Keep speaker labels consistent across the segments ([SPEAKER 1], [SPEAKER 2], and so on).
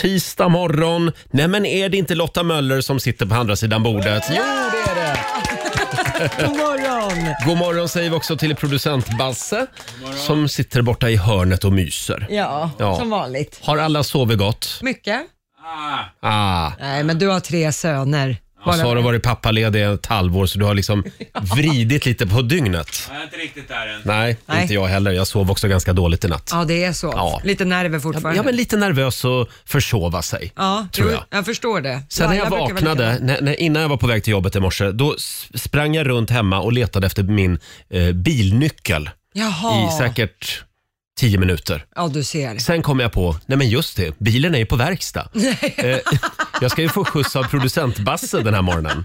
[SPEAKER 1] tisdag morgon. Nej, men är det inte Lotta Möller som sitter på andra sidan bordet? Jo, det är det!
[SPEAKER 2] God morgon!
[SPEAKER 1] God morgon säger vi också till producent Basse som sitter borta i hörnet och myser.
[SPEAKER 2] Ja,
[SPEAKER 1] Ja.
[SPEAKER 2] som vanligt.
[SPEAKER 1] Har alla sovit gott?
[SPEAKER 2] Mycket?
[SPEAKER 1] Ah.
[SPEAKER 2] Nej, men du har tre söner.
[SPEAKER 1] Och så har
[SPEAKER 2] Bara...
[SPEAKER 1] du varit pappaledig ett halvår så du har liksom vridit lite på dygnet.
[SPEAKER 3] Jag är inte riktigt där än.
[SPEAKER 1] Nej,
[SPEAKER 2] Nej.
[SPEAKER 1] inte jag heller. Jag sov också ganska dåligt i natt.
[SPEAKER 2] Ja, det är så.
[SPEAKER 1] Ja.
[SPEAKER 2] Lite nerver fortfarande.
[SPEAKER 1] Jag var lite nervös att försova sig.
[SPEAKER 2] Ja,
[SPEAKER 1] tror
[SPEAKER 2] jo,
[SPEAKER 1] jag.
[SPEAKER 2] jag förstår det.
[SPEAKER 1] Sen när
[SPEAKER 2] Laila
[SPEAKER 1] jag
[SPEAKER 2] brukar vara
[SPEAKER 1] vaknade,
[SPEAKER 2] likadan.
[SPEAKER 1] när, när, innan jag var på väg till jobbet i morse, då s- sprang jag runt hemma och letade efter min eh, bilnyckel
[SPEAKER 2] Jaha,
[SPEAKER 1] i säkert tio minuter.
[SPEAKER 2] ja du ser.
[SPEAKER 1] Sen kom jag på, nej men just det, bilen är ju på verkstad. Eh, jag ska ju få skjuts av producent Basse den här morgonen.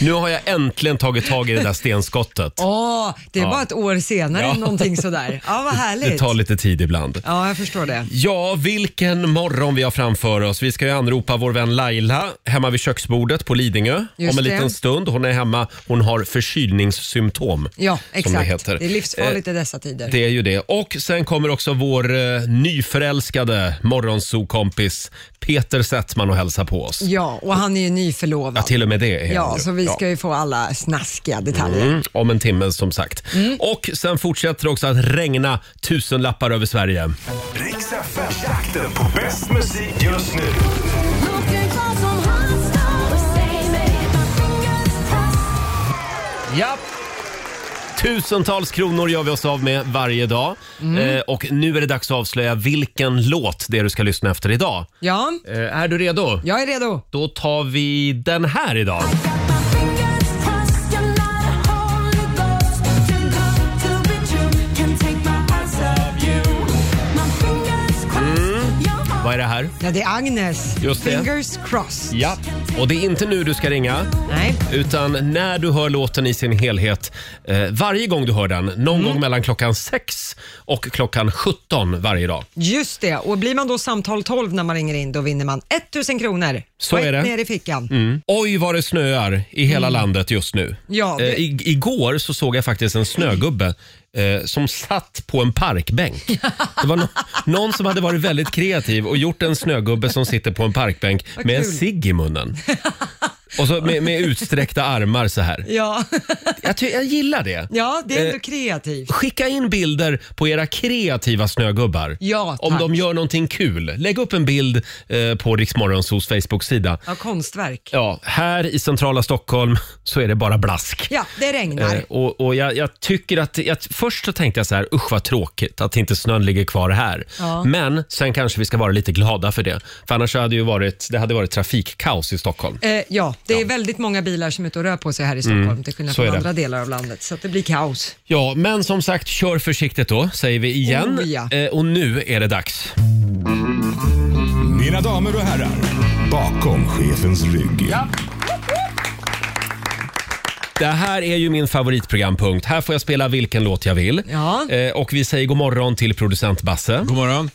[SPEAKER 1] Nu har jag äntligen tagit tag i det där stenskottet.
[SPEAKER 2] Åh, det var ett år senare
[SPEAKER 1] Ja.
[SPEAKER 2] någonting sådär. Ja, vad
[SPEAKER 1] Det
[SPEAKER 2] härligt.
[SPEAKER 1] tar lite tid ibland.
[SPEAKER 2] Ja, jag förstår det.
[SPEAKER 1] Ja, vilken morgon vi har framför oss. Vi ska ju anropa vår vän Laila hemma vid köksbordet på Lidingö
[SPEAKER 2] Just
[SPEAKER 1] om en
[SPEAKER 2] det.
[SPEAKER 1] liten stund. Hon är hemma, hon har förkylningssymptom.
[SPEAKER 2] Ja, exakt.
[SPEAKER 1] det heter. Eh,
[SPEAKER 2] är livsfarligt i dessa tider.
[SPEAKER 1] Det är ju det. Och sen kommer också vår eh, nyförälskade morgonsokompis Peter Settman och hälsa på oss.
[SPEAKER 2] Ja, och han är ju nyförlovad.
[SPEAKER 1] Ja, till och med det är han
[SPEAKER 2] Ja,
[SPEAKER 1] ju.
[SPEAKER 2] så vi ska ju få alla snaskiga detaljer.
[SPEAKER 1] Mm, om en timme som sagt.
[SPEAKER 2] Mm.
[SPEAKER 1] Och sen fortsätter det också att regna tusenlappar över Sverige.
[SPEAKER 4] Riks FM, jakten på bäst musik just nu.
[SPEAKER 1] Ja. Tusentals kronor gör vi oss av med varje dag.
[SPEAKER 2] Mm.
[SPEAKER 1] Eh, och nu är det dags att avslöja vilken låt det är du ska lyssna efter idag.
[SPEAKER 2] Ja,
[SPEAKER 1] Eh, är du redo?
[SPEAKER 2] jag är redo.
[SPEAKER 1] Då tar vi den här idag.
[SPEAKER 4] Mm.
[SPEAKER 1] Vad är det här?
[SPEAKER 2] Ja, det är Agnes.
[SPEAKER 1] Just det.
[SPEAKER 2] Fingers crossed.
[SPEAKER 1] Ja, och det är inte nu du ska ringa.
[SPEAKER 2] Nej.
[SPEAKER 1] Utan när du hör låten i sin helhet, eh, varje gång du hör den, någon
[SPEAKER 2] Mm.
[SPEAKER 1] gång mellan klockan 6 och klockan 17 varje dag.
[SPEAKER 2] Just det, och blir man då samtal 12 när man ringer in då vinner man 1000 kronor.
[SPEAKER 1] Så
[SPEAKER 2] Rätt
[SPEAKER 1] är det.
[SPEAKER 2] ner i fickan.
[SPEAKER 1] Oj vad det snöar i hela landet just nu.
[SPEAKER 2] Mm. Ja, det-
[SPEAKER 1] Eh, i, igår så såg jag faktiskt en snögubbe eh, som satt på en parkbänk. Det var nå- någon som hade varit väldigt kreativ och gjort en snögubbe som sitter på en parkbänk med en
[SPEAKER 2] kul.
[SPEAKER 1] cigg i munnen. Och så med, med utsträckta armar så här.
[SPEAKER 2] Ja.
[SPEAKER 1] Jag, ty- jag gillar det.
[SPEAKER 2] ja, det är ändå
[SPEAKER 1] Eh,
[SPEAKER 2] kreativt.
[SPEAKER 1] Skicka in bilder på era kreativa snögubbar.
[SPEAKER 2] Ja,
[SPEAKER 1] om
[SPEAKER 2] tack.
[SPEAKER 1] de gör någonting kul. Lägg upp en bild eh, på Riksmorgonsos Facebook-sida.
[SPEAKER 2] Ja, konstverk.
[SPEAKER 1] Ja, här i centrala Stockholm så är det bara blask.
[SPEAKER 2] Ja, det regnar.
[SPEAKER 1] Eh, och och jag, jag tycker att, jag, först så tänkte jag så här, usch vad tråkigt att inte snön ligger kvar här.
[SPEAKER 2] Ja.
[SPEAKER 1] Men sen kanske vi ska vara lite glada för det. För annars hade ju varit, det hade varit trafikkaos i Stockholm.
[SPEAKER 2] Eh, ja, det är väldigt många bilar som är ute och rör på sig här i Stockholm till skillnad
[SPEAKER 1] Mm, så
[SPEAKER 2] från
[SPEAKER 1] är det.
[SPEAKER 2] andra delar av landet. Så att det blir kaos.
[SPEAKER 1] Ja, men som sagt, kör försiktigt då, säger vi igen.
[SPEAKER 2] Oh, ja.
[SPEAKER 1] eh, och nu är det dags.
[SPEAKER 4] Mina damer och herrar, bakom chefens rygg.
[SPEAKER 1] Det här är ju min favoritprogrampunkt. Här får jag spela vilken låt jag vill.
[SPEAKER 2] Ja.
[SPEAKER 1] Eh, och vi säger god morgon till producent Basse.
[SPEAKER 3] God morgon.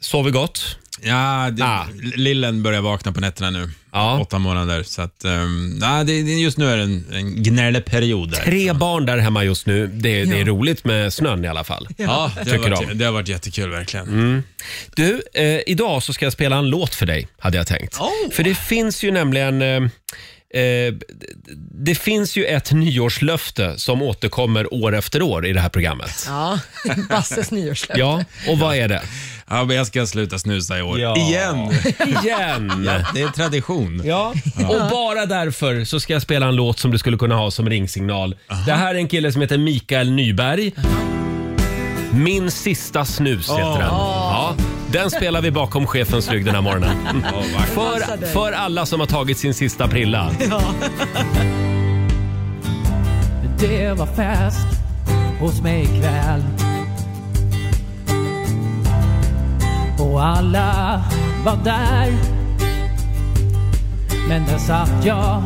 [SPEAKER 1] Sover gott?
[SPEAKER 3] Ja, det,
[SPEAKER 1] Ah.
[SPEAKER 3] lillen börjar vakna på nätterna nu.
[SPEAKER 1] Ja.
[SPEAKER 3] Åtta månader. Så att, um, nej, det, det- just nu är det liksom. en, en gnälleperiod. Där.
[SPEAKER 1] Tre barn där hemma just nu. Det, det är
[SPEAKER 2] Ja.
[SPEAKER 1] roligt med snön i alla fall.
[SPEAKER 3] Ja, det har,
[SPEAKER 1] Tycker
[SPEAKER 3] varit,
[SPEAKER 1] de. Mm.
[SPEAKER 3] det har varit jättekul verkligen.
[SPEAKER 1] Du, eh, idag så ska jag spela en låt för dig, hade jag tänkt.
[SPEAKER 3] Oh.
[SPEAKER 1] För det finns ju nämligen... Eh, eh, d- d- det finns ju ett nyårslöfte som återkommer år efter år i det här programmet.
[SPEAKER 2] Ja, Basses nyårslöfte.
[SPEAKER 1] Ja, och vad är det?
[SPEAKER 3] Ja, men jag ska sluta snusa i år.
[SPEAKER 1] Ja.
[SPEAKER 3] Igen!
[SPEAKER 1] Igen!
[SPEAKER 3] Det är tradition.
[SPEAKER 1] Ja. Och bara därför så ska jag spela en låt som du skulle kunna ha som ringsignal. Det här är en kille som heter Mikael Nyberg. Min sista snus heter den. Ja, den spelar vi bakom chefens rygg den här morgonen.
[SPEAKER 2] Passar
[SPEAKER 1] För,
[SPEAKER 2] dig.
[SPEAKER 1] för alla som har tagit sin sista prilla.
[SPEAKER 5] Det var fest hos mig ikväll Och alla var där Men där satt jag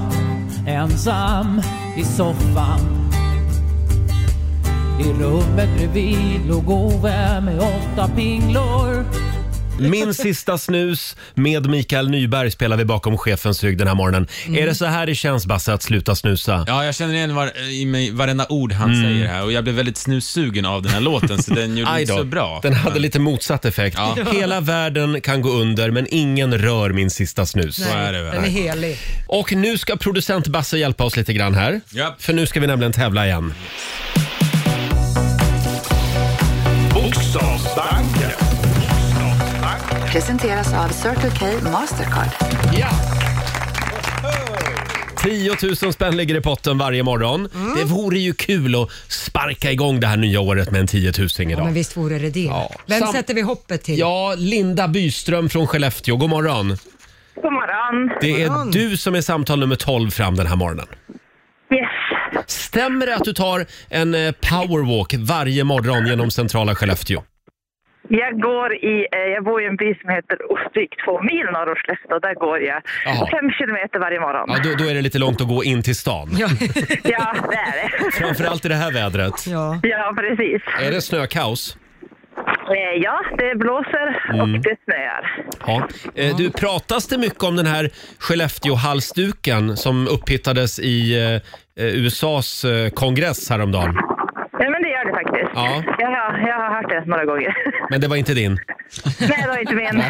[SPEAKER 5] ensam i soffan I rummet bredvid låg Ove med åtta pinglor
[SPEAKER 1] Min sista snus med Mikael Nyberg spelar vi bakom chefens rygg den här morgonen.
[SPEAKER 3] Mm.
[SPEAKER 1] Är det så här det känns Basse att sluta snusa?
[SPEAKER 3] Ja, jag känner igen var, i mig varenda ord han säger här och jag blev väldigt snussugen av den här låten så den gjorde
[SPEAKER 1] Aj
[SPEAKER 3] inte
[SPEAKER 1] då.
[SPEAKER 3] så bra.
[SPEAKER 1] Den hade lite motsatt effekt.
[SPEAKER 3] Ja.
[SPEAKER 1] Hela världen kan gå under men ingen rör min sista snus.
[SPEAKER 3] Så är det väl.
[SPEAKER 2] Den är helig.
[SPEAKER 1] Och nu ska producent Basse hjälpa oss lite grann här.
[SPEAKER 3] Ja.
[SPEAKER 1] För nu ska vi nämligen tävla igen.
[SPEAKER 4] Bokstavsbanken.
[SPEAKER 6] Presenteras av Circle K Mastercard.
[SPEAKER 1] 10 000 spänn ligger i potten varje morgon.
[SPEAKER 2] Mm.
[SPEAKER 1] Det vore ju kul att sparka igång det här nya året med en 10 000 idag.
[SPEAKER 2] Men visst vore det det.
[SPEAKER 1] Ja.
[SPEAKER 2] Vem
[SPEAKER 1] Sam-
[SPEAKER 2] sätter vi hoppet till?
[SPEAKER 1] Ja, Linda Byström från Skellefteå. God morgon.
[SPEAKER 7] God morgon.
[SPEAKER 1] Det är
[SPEAKER 2] morgon.
[SPEAKER 1] du som är samtal nummer 12 fram den här morgonen.
[SPEAKER 7] Yes.
[SPEAKER 1] Stämmer det att du tar en eh, powerwalk varje morgon genom centrala Skellefteå?
[SPEAKER 7] Jag går i, eh, jag bor i en by som heter Ostvik, två mil norr om Skellefteå. Där går jag
[SPEAKER 1] Jaha.
[SPEAKER 7] fem kilometer varje morgon.
[SPEAKER 1] Ja, då, då är det lite långt att gå in till stan.
[SPEAKER 2] Ja.
[SPEAKER 7] Ja, det är det.
[SPEAKER 1] Framförallt i det här vädret.
[SPEAKER 2] ja.
[SPEAKER 7] Ja, precis.
[SPEAKER 1] Är det snökaos? Mm.
[SPEAKER 7] Eh, Ja, det blåser och det snöar.
[SPEAKER 1] Ja. Eh, Du, pratas det mycket om den här Skellefteå-halsduken som upphittades i eh, eh, USAs eh, kongress häromdagen?
[SPEAKER 7] Ja, men det gör det faktiskt.
[SPEAKER 1] Ja.
[SPEAKER 7] Jag, har, jag har hört det några gånger.
[SPEAKER 1] Men det var inte din.
[SPEAKER 7] Nej, det var inte min.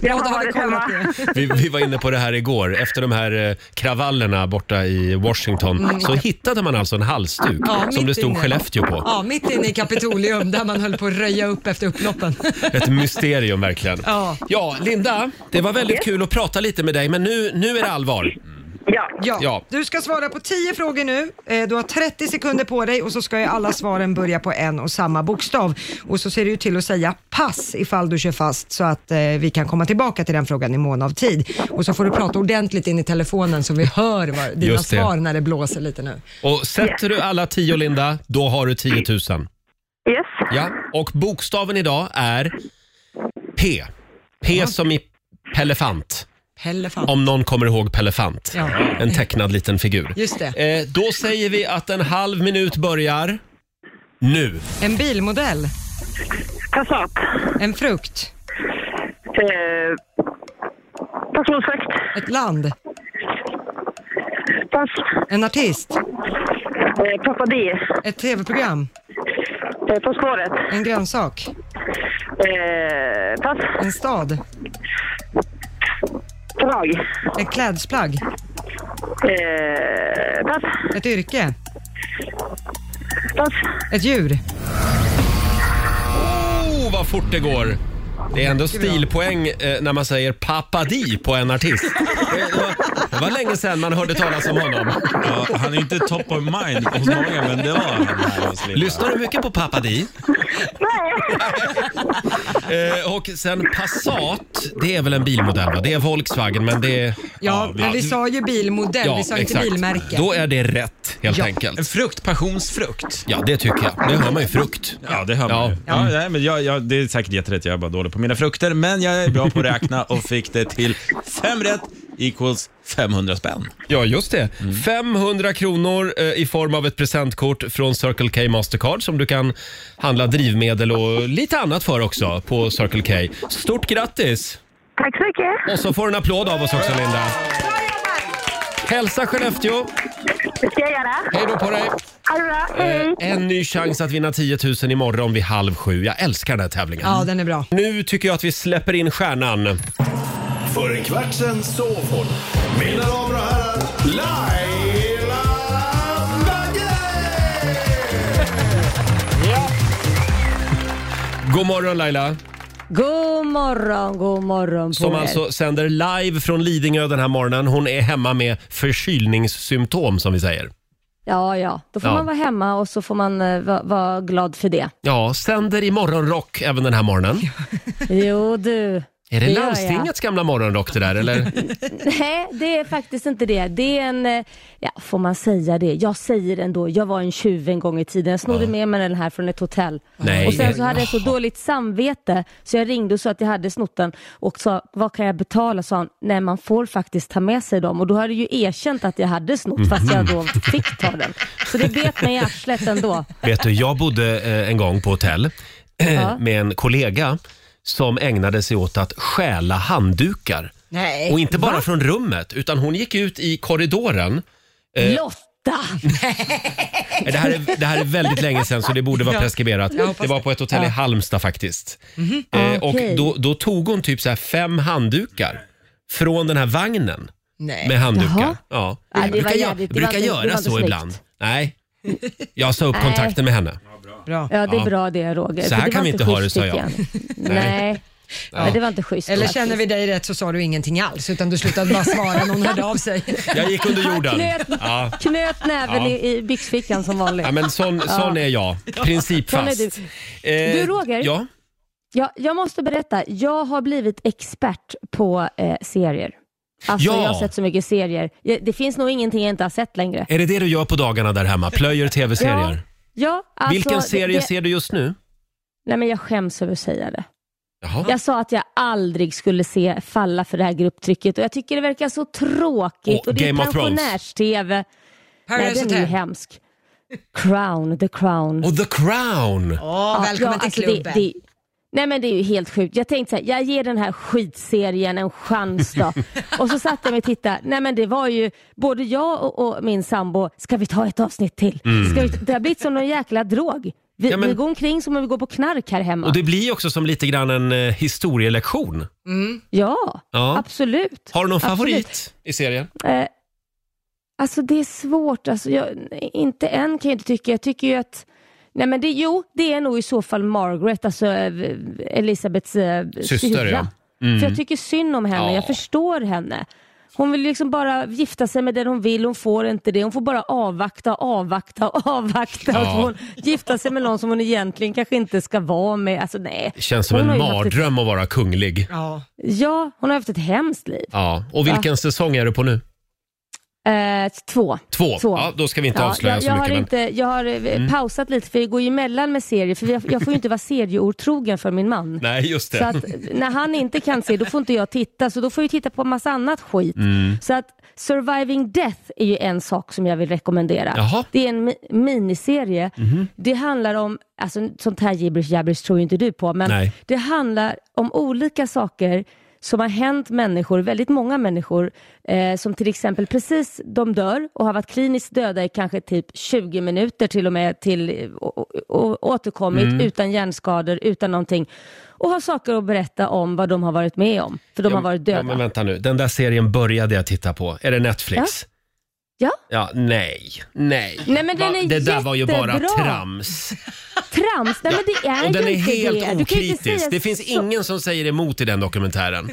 [SPEAKER 7] Jag
[SPEAKER 2] då
[SPEAKER 7] har
[SPEAKER 2] har vi
[SPEAKER 7] varit
[SPEAKER 2] kollat
[SPEAKER 7] hemma.
[SPEAKER 1] Vi, vi var inne på det här igår. Efter de här eh, kravallerna borta i Washington så hittade man alltså en halsduk
[SPEAKER 2] Mm. Ja,
[SPEAKER 1] som det
[SPEAKER 2] mitt
[SPEAKER 1] stod
[SPEAKER 2] inne.
[SPEAKER 1] Skellefteå på.
[SPEAKER 2] Ja, mitt inne i Kapitolium där man höll på att röja upp efter upploppen.
[SPEAKER 1] Ett mysterium verkligen.
[SPEAKER 2] Ja.
[SPEAKER 1] Linda, det var väldigt kul att prata lite med dig men nu, nu är det allvar.
[SPEAKER 7] Ja.
[SPEAKER 2] Ja.
[SPEAKER 1] Ja.
[SPEAKER 2] Du ska svara på 10 frågor nu. Eh, Du har 30 sekunder på dig och så ska ju alla svaren börja på en och samma bokstav. Och så ser du ju till att säga pass ifall du kör fast så att eh, vi kan komma tillbaka till den frågan i mån av tid. Och så får du prata ordentligt in i telefonen så vi hör vad, dina
[SPEAKER 1] Just det.
[SPEAKER 2] svar när det blåser lite nu.
[SPEAKER 1] Och sätter du alla tio Linda, då har du 10 000.
[SPEAKER 7] Yes.
[SPEAKER 1] Ja, och bokstaven idag är P. P som i Pelefant.
[SPEAKER 2] Pellefant.
[SPEAKER 1] Om någon kommer ihåg Pelefant.
[SPEAKER 2] Ja.
[SPEAKER 1] En tecknad liten figur.
[SPEAKER 2] Just det.
[SPEAKER 1] Eh, då säger vi att en halv minut börjar nu.
[SPEAKER 2] En bilmodell.
[SPEAKER 7] Passat.
[SPEAKER 2] En frukt.
[SPEAKER 7] Eh, Passionsfläkt.
[SPEAKER 2] Ett land.
[SPEAKER 7] Pass.
[SPEAKER 2] En artist.
[SPEAKER 7] Eh, Pappa D.
[SPEAKER 2] Ett tv-program.
[SPEAKER 7] Eh, På spåret.
[SPEAKER 2] En grönsak.
[SPEAKER 7] Eh, Pass.
[SPEAKER 2] En stad.
[SPEAKER 7] Drag.
[SPEAKER 2] Ett klädesplagg.
[SPEAKER 7] Eh, pass.
[SPEAKER 2] Ett yrke.
[SPEAKER 7] Pass.
[SPEAKER 2] Ett djur.
[SPEAKER 1] Oh, vad fort det går! Det är ändå stilpoäng eh, när man säger Papa Di på en artist. Det, det, var, det var länge sedan man hörde talas om honom.
[SPEAKER 3] Ja, han är inte top of mind hos många, men det var han här hos Linda.
[SPEAKER 1] Lyssnar du mycket på Papa Di? Eh, och sen Passat, det är väl en bilmodell va? Det är Volkswagen men det är...
[SPEAKER 2] Ja, men vi sa ju bilmodell, vi sa inte bilmärke.
[SPEAKER 1] Då är det rätt helt
[SPEAKER 2] Ja.
[SPEAKER 1] enkelt.
[SPEAKER 3] En frukt, passionsfrukt.
[SPEAKER 1] Ja, det tycker jag. Det hör man ju. Frukt.
[SPEAKER 3] Ja, det hör man
[SPEAKER 1] Ja.
[SPEAKER 3] ju. Mm. Ja, nej, men jag, jag, Det är säkert jätterätt, jag är bara dålig på mina frukter, men jag är bra på att räkna och fick det till fem rätt equals 500 spänn.
[SPEAKER 1] Ja, just det. 500 kronor eh, i form av ett presentkort från Circle K Mastercard som du kan handla drivmedel och lite annat för också på Circle K. Stort grattis!
[SPEAKER 7] Tack så mycket.
[SPEAKER 1] Och så får du en applåd av oss också, Linda. Hälsa Skellefteå!
[SPEAKER 7] Det ska jag göra.
[SPEAKER 1] Hej då på dig! Eh,
[SPEAKER 7] Ha det bra. Hej.
[SPEAKER 1] En ny chans att vinna 10 000 imorgon vid halv sju. Jag älskar den här tävlingen.
[SPEAKER 2] Ja, den är bra.
[SPEAKER 1] Nu tycker jag att vi släpper in stjärnan.
[SPEAKER 4] För en kvart sen sov hon. Mina damer och herrar, Laila Bagge!
[SPEAKER 1] God morgon Laila,
[SPEAKER 8] God morgon, god morgon på
[SPEAKER 1] som
[SPEAKER 8] er.
[SPEAKER 1] alltså sänder live från Lidingö den här morgonen. Hon är hemma med förkylningssymptom som vi säger.
[SPEAKER 8] Ja, ja. Då får
[SPEAKER 1] Ja.
[SPEAKER 8] man vara hemma och så får man eh, va- vara glad för det.
[SPEAKER 1] Ja, sänder i morgonrock även den här morgonen.
[SPEAKER 8] Jo, du.
[SPEAKER 1] Är det
[SPEAKER 8] Det gör jag.
[SPEAKER 1] landstingets gamla morgonrock det där eller?
[SPEAKER 8] Nej, det är faktiskt inte det. Det är en, eh, ja, får man säga det? Jag säger det ändå. Jag var en tjuv en gång i tiden. Jag snodde med mig den här från ett hotell.
[SPEAKER 1] Nej.
[SPEAKER 8] Och sen så hade jag så dåligt samvete så jag ringde och sa att jag hade snott den och sa, vad kan jag betala? Sa han, nej man får faktiskt ta med sig dem. Och då hade jag ju erkänt att jag hade
[SPEAKER 1] Mm.
[SPEAKER 8] snott fast jag då fick ta den. Så det bet mig i arslet ändå.
[SPEAKER 1] Vet du, jag bodde eh, en gång på hotell eh,
[SPEAKER 8] Ja.
[SPEAKER 1] med en kollega som ägnade sig åt att stjäla handdukar.
[SPEAKER 2] Nej.
[SPEAKER 1] Och inte bara från rummet, utan hon gick ut i korridoren.
[SPEAKER 8] Lotta!
[SPEAKER 1] Eh, Det här är, det här är väldigt länge sedan så det borde vara preskriberat.
[SPEAKER 2] hoppas
[SPEAKER 1] Det var på ett hotell i Halmstad faktiskt. Eh, och
[SPEAKER 8] Mhm. Ah, Okej.
[SPEAKER 1] då, då tog hon typ så här fem handdukar från den här vagnen
[SPEAKER 2] Nej.
[SPEAKER 1] med handdukar.
[SPEAKER 8] Eh, Jaha.
[SPEAKER 1] Ja.
[SPEAKER 8] Ja, det
[SPEAKER 1] Jag
[SPEAKER 8] var
[SPEAKER 1] brukar, jag,
[SPEAKER 8] jävligt- det var
[SPEAKER 1] brukar
[SPEAKER 8] inte- det var
[SPEAKER 1] göra
[SPEAKER 8] inte
[SPEAKER 1] så
[SPEAKER 8] snyggt.
[SPEAKER 1] ibland. Nej, jag sa upp kontakten med henne.
[SPEAKER 2] Bra.
[SPEAKER 8] Ja, det är
[SPEAKER 1] Ja.
[SPEAKER 8] bra det Roger.
[SPEAKER 1] Så
[SPEAKER 8] för
[SPEAKER 1] här
[SPEAKER 8] det
[SPEAKER 1] kan
[SPEAKER 8] var
[SPEAKER 1] vi inte ha det,
[SPEAKER 8] schysst,
[SPEAKER 1] sa jag.
[SPEAKER 8] tycker Nej, Nej, det var inte schysst.
[SPEAKER 2] Eller
[SPEAKER 8] faktiskt.
[SPEAKER 2] känner vi dig rätt så sa du ingenting alls utan du slutade bara svara när hon hörde av sig.
[SPEAKER 1] Jag gick under jorden.
[SPEAKER 8] Knöt,
[SPEAKER 1] Ja.
[SPEAKER 8] knöt näven
[SPEAKER 1] Ja.
[SPEAKER 8] i, i byxfickan som vanligt.
[SPEAKER 1] Ja, men sån, sån är jag. Principfast.
[SPEAKER 8] Sån
[SPEAKER 1] Eh,
[SPEAKER 8] Du, Roger?
[SPEAKER 1] Ja.
[SPEAKER 8] Jag, jag måste berätta, jag har blivit expert på eh, serier. Alltså
[SPEAKER 1] Ja.
[SPEAKER 8] jag har sett så mycket serier. Jag, det finns nog ingenting jag inte har sett längre.
[SPEAKER 1] Är det det du gör på dagarna där hemma? Plöjer tv-serier?
[SPEAKER 8] Ja, alltså,
[SPEAKER 1] Vilken serie
[SPEAKER 8] det, det,
[SPEAKER 1] ser du just nu?
[SPEAKER 8] Nej men jag skäms över att säga det.
[SPEAKER 1] Jaha.
[SPEAKER 8] Jag sa att jag aldrig skulle se falla för det här grupptrycket och jag tycker det verkar så tråkigt.
[SPEAKER 1] Och
[SPEAKER 8] och det är
[SPEAKER 1] Game of Thrones.
[SPEAKER 8] pensionärs-tv. Nej,
[SPEAKER 2] Paradise
[SPEAKER 8] den är ju
[SPEAKER 2] Hotel.
[SPEAKER 8] hemsk. Crown, the crown.
[SPEAKER 1] Och The Crown!
[SPEAKER 2] Ja, välkommen till
[SPEAKER 8] alltså
[SPEAKER 2] klubben.
[SPEAKER 8] Det, det, nej men det är ju helt sjukt. Jag tänkte så här, jag ger den här skitserien en chans då. och så satte jag mig och tittade. Nej men det var ju, både jag och, och min sambo, ska vi ta ett avsnitt till? Ska vi, det har blivit som någon jäkla drog. Vi,
[SPEAKER 1] Mm. Ja, men-
[SPEAKER 8] vi går omkring som om vi går på knark här hemma.
[SPEAKER 1] Och det blir ju också som lite grann en eh, historielektion.
[SPEAKER 8] Ja,
[SPEAKER 1] Mm. Ja.
[SPEAKER 8] absolut.
[SPEAKER 1] Har du någon
[SPEAKER 8] Absolut.
[SPEAKER 1] favorit i serien?
[SPEAKER 8] Eh, alltså det är svårt. Alltså, jag, inte en kan jag inte tycka. Jag tycker ju att Nej men det, jo, det är nog i så fall Margaret, alltså eh, Elisabeths eh,
[SPEAKER 1] Syster, Mm.
[SPEAKER 8] syrra. För jag tycker synd om henne,
[SPEAKER 1] Ja.
[SPEAKER 8] jag förstår henne. Hon vill liksom bara gifta sig med den hon vill, hon får inte det. Hon får bara avvakta, avvakta, avvakta.
[SPEAKER 1] Ja.
[SPEAKER 8] Och så får hon gifta sig med någon som hon egentligen kanske inte ska vara med. Alltså nej.
[SPEAKER 1] Det känns som
[SPEAKER 8] Hon
[SPEAKER 1] en
[SPEAKER 8] har ju haft ett-
[SPEAKER 1] mardröm att vara kunglig.
[SPEAKER 2] Ja.
[SPEAKER 8] Ja, hon har haft ett hemskt liv.
[SPEAKER 1] Ja. Och vilken säsong är du på nu?
[SPEAKER 8] Eh, två.
[SPEAKER 1] Två.
[SPEAKER 8] Två.
[SPEAKER 1] Ja, då ska vi inte
[SPEAKER 8] Ja,
[SPEAKER 1] avslöja
[SPEAKER 8] jag,
[SPEAKER 1] så
[SPEAKER 8] jag Har
[SPEAKER 1] mycket. men- Mm.
[SPEAKER 8] inte, jag har eh, pausat lite för det går ju emellan med serier för jag, jag får ju inte vara serieotrogen för min man.
[SPEAKER 1] Nej, just
[SPEAKER 8] Så
[SPEAKER 1] det.
[SPEAKER 8] att när han inte kan se, då får inte jag titta. Så då får jag titta på en massa annat skit.
[SPEAKER 1] Mm.
[SPEAKER 8] Så att Surviving Death är ju en sak som jag vill rekommendera.
[SPEAKER 1] Jaha. Mm.
[SPEAKER 8] Det är en mi- miniserie.
[SPEAKER 9] Mhm.
[SPEAKER 8] Det handlar om, alltså sånt här gibberish jabberish tror ju inte du på, men
[SPEAKER 1] Nej.
[SPEAKER 8] det handlar om olika saker som har hänt människor, väldigt många människor, eh, som till exempel precis de dör och har varit kliniskt döda i kanske typ 20 minuter till och med till, och, och, och återkommit
[SPEAKER 1] Mm.
[SPEAKER 8] utan hjärnskador, utan någonting och har saker att berätta om vad de har varit med om, för de har varit
[SPEAKER 1] Ja, men
[SPEAKER 8] döda.
[SPEAKER 1] vänta nu. Den där serien började jag titta på. Är det Netflix?
[SPEAKER 8] Ja.
[SPEAKER 1] Ja, nej, nej.
[SPEAKER 8] Nej, men den
[SPEAKER 1] Va-
[SPEAKER 8] är
[SPEAKER 1] det där var ju bara
[SPEAKER 8] jättebra.
[SPEAKER 1] trams.
[SPEAKER 8] Trams, nej men det är
[SPEAKER 1] Och den
[SPEAKER 8] ju
[SPEAKER 1] är
[SPEAKER 8] inte
[SPEAKER 1] helt
[SPEAKER 8] det. Du kan ju inte
[SPEAKER 1] okritisk.
[SPEAKER 8] säga
[SPEAKER 1] Det finns
[SPEAKER 8] så-
[SPEAKER 1] ingen som säger emot i den dokumentären.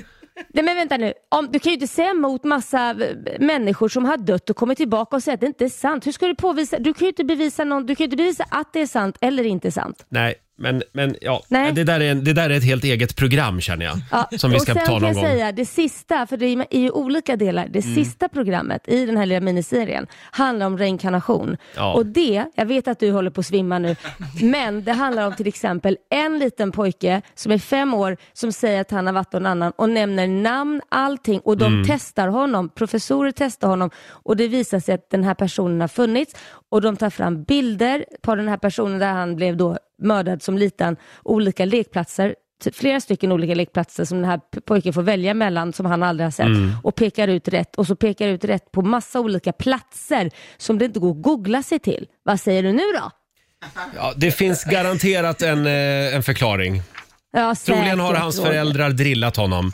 [SPEAKER 8] Nej men vänta nu, Om, du kan ju inte säga emot massa eh, människor som har dött och kommit tillbaka och säga att det inte är sant. Hur ska du påvisa? Du kan ju inte bevisa, någon, du kan ju inte bevisa att det är sant eller inte sant.
[SPEAKER 1] Nej, men, men ja.
[SPEAKER 8] Nej.
[SPEAKER 1] Det, där är, en- det där är ett helt eget program känner jag.
[SPEAKER 8] Ja,
[SPEAKER 1] Som vi ska
[SPEAKER 8] och sen
[SPEAKER 1] ta
[SPEAKER 8] kan
[SPEAKER 1] någon
[SPEAKER 8] jag
[SPEAKER 1] gång.
[SPEAKER 8] säga det sista, för det är är ju olika delar. Det
[SPEAKER 1] Mm.
[SPEAKER 8] sista programmet i den här lilla miniserien handlar om reinkarnation.
[SPEAKER 1] Ja.
[SPEAKER 8] Och det, jag vet att du håller på att svimma nu, men det handlar om till exempel en liten pojke som är fem år som säger att han har varit någon annan och nämner namn, allting och de
[SPEAKER 1] Mm.
[SPEAKER 8] testar honom. Professorer testar honom och det visar sig att den här personen har funnits och de tar fram bilder på den här personen där han blev då mördad som liten, olika lekplatser ty- flera stycken olika lekplatser som den här p- pojken får välja mellan som han aldrig har sett
[SPEAKER 1] Mm.
[SPEAKER 8] och pekar ut rätt och så pekar ut rätt på massa olika platser som det inte går att googla sig till. Vad säger du nu då?
[SPEAKER 1] Ja, det finns garanterat en, eh, en förklaring.
[SPEAKER 8] Ja,
[SPEAKER 1] Troligen
[SPEAKER 8] säkert,
[SPEAKER 1] har hans
[SPEAKER 8] Roger.
[SPEAKER 1] föräldrar drillat honom.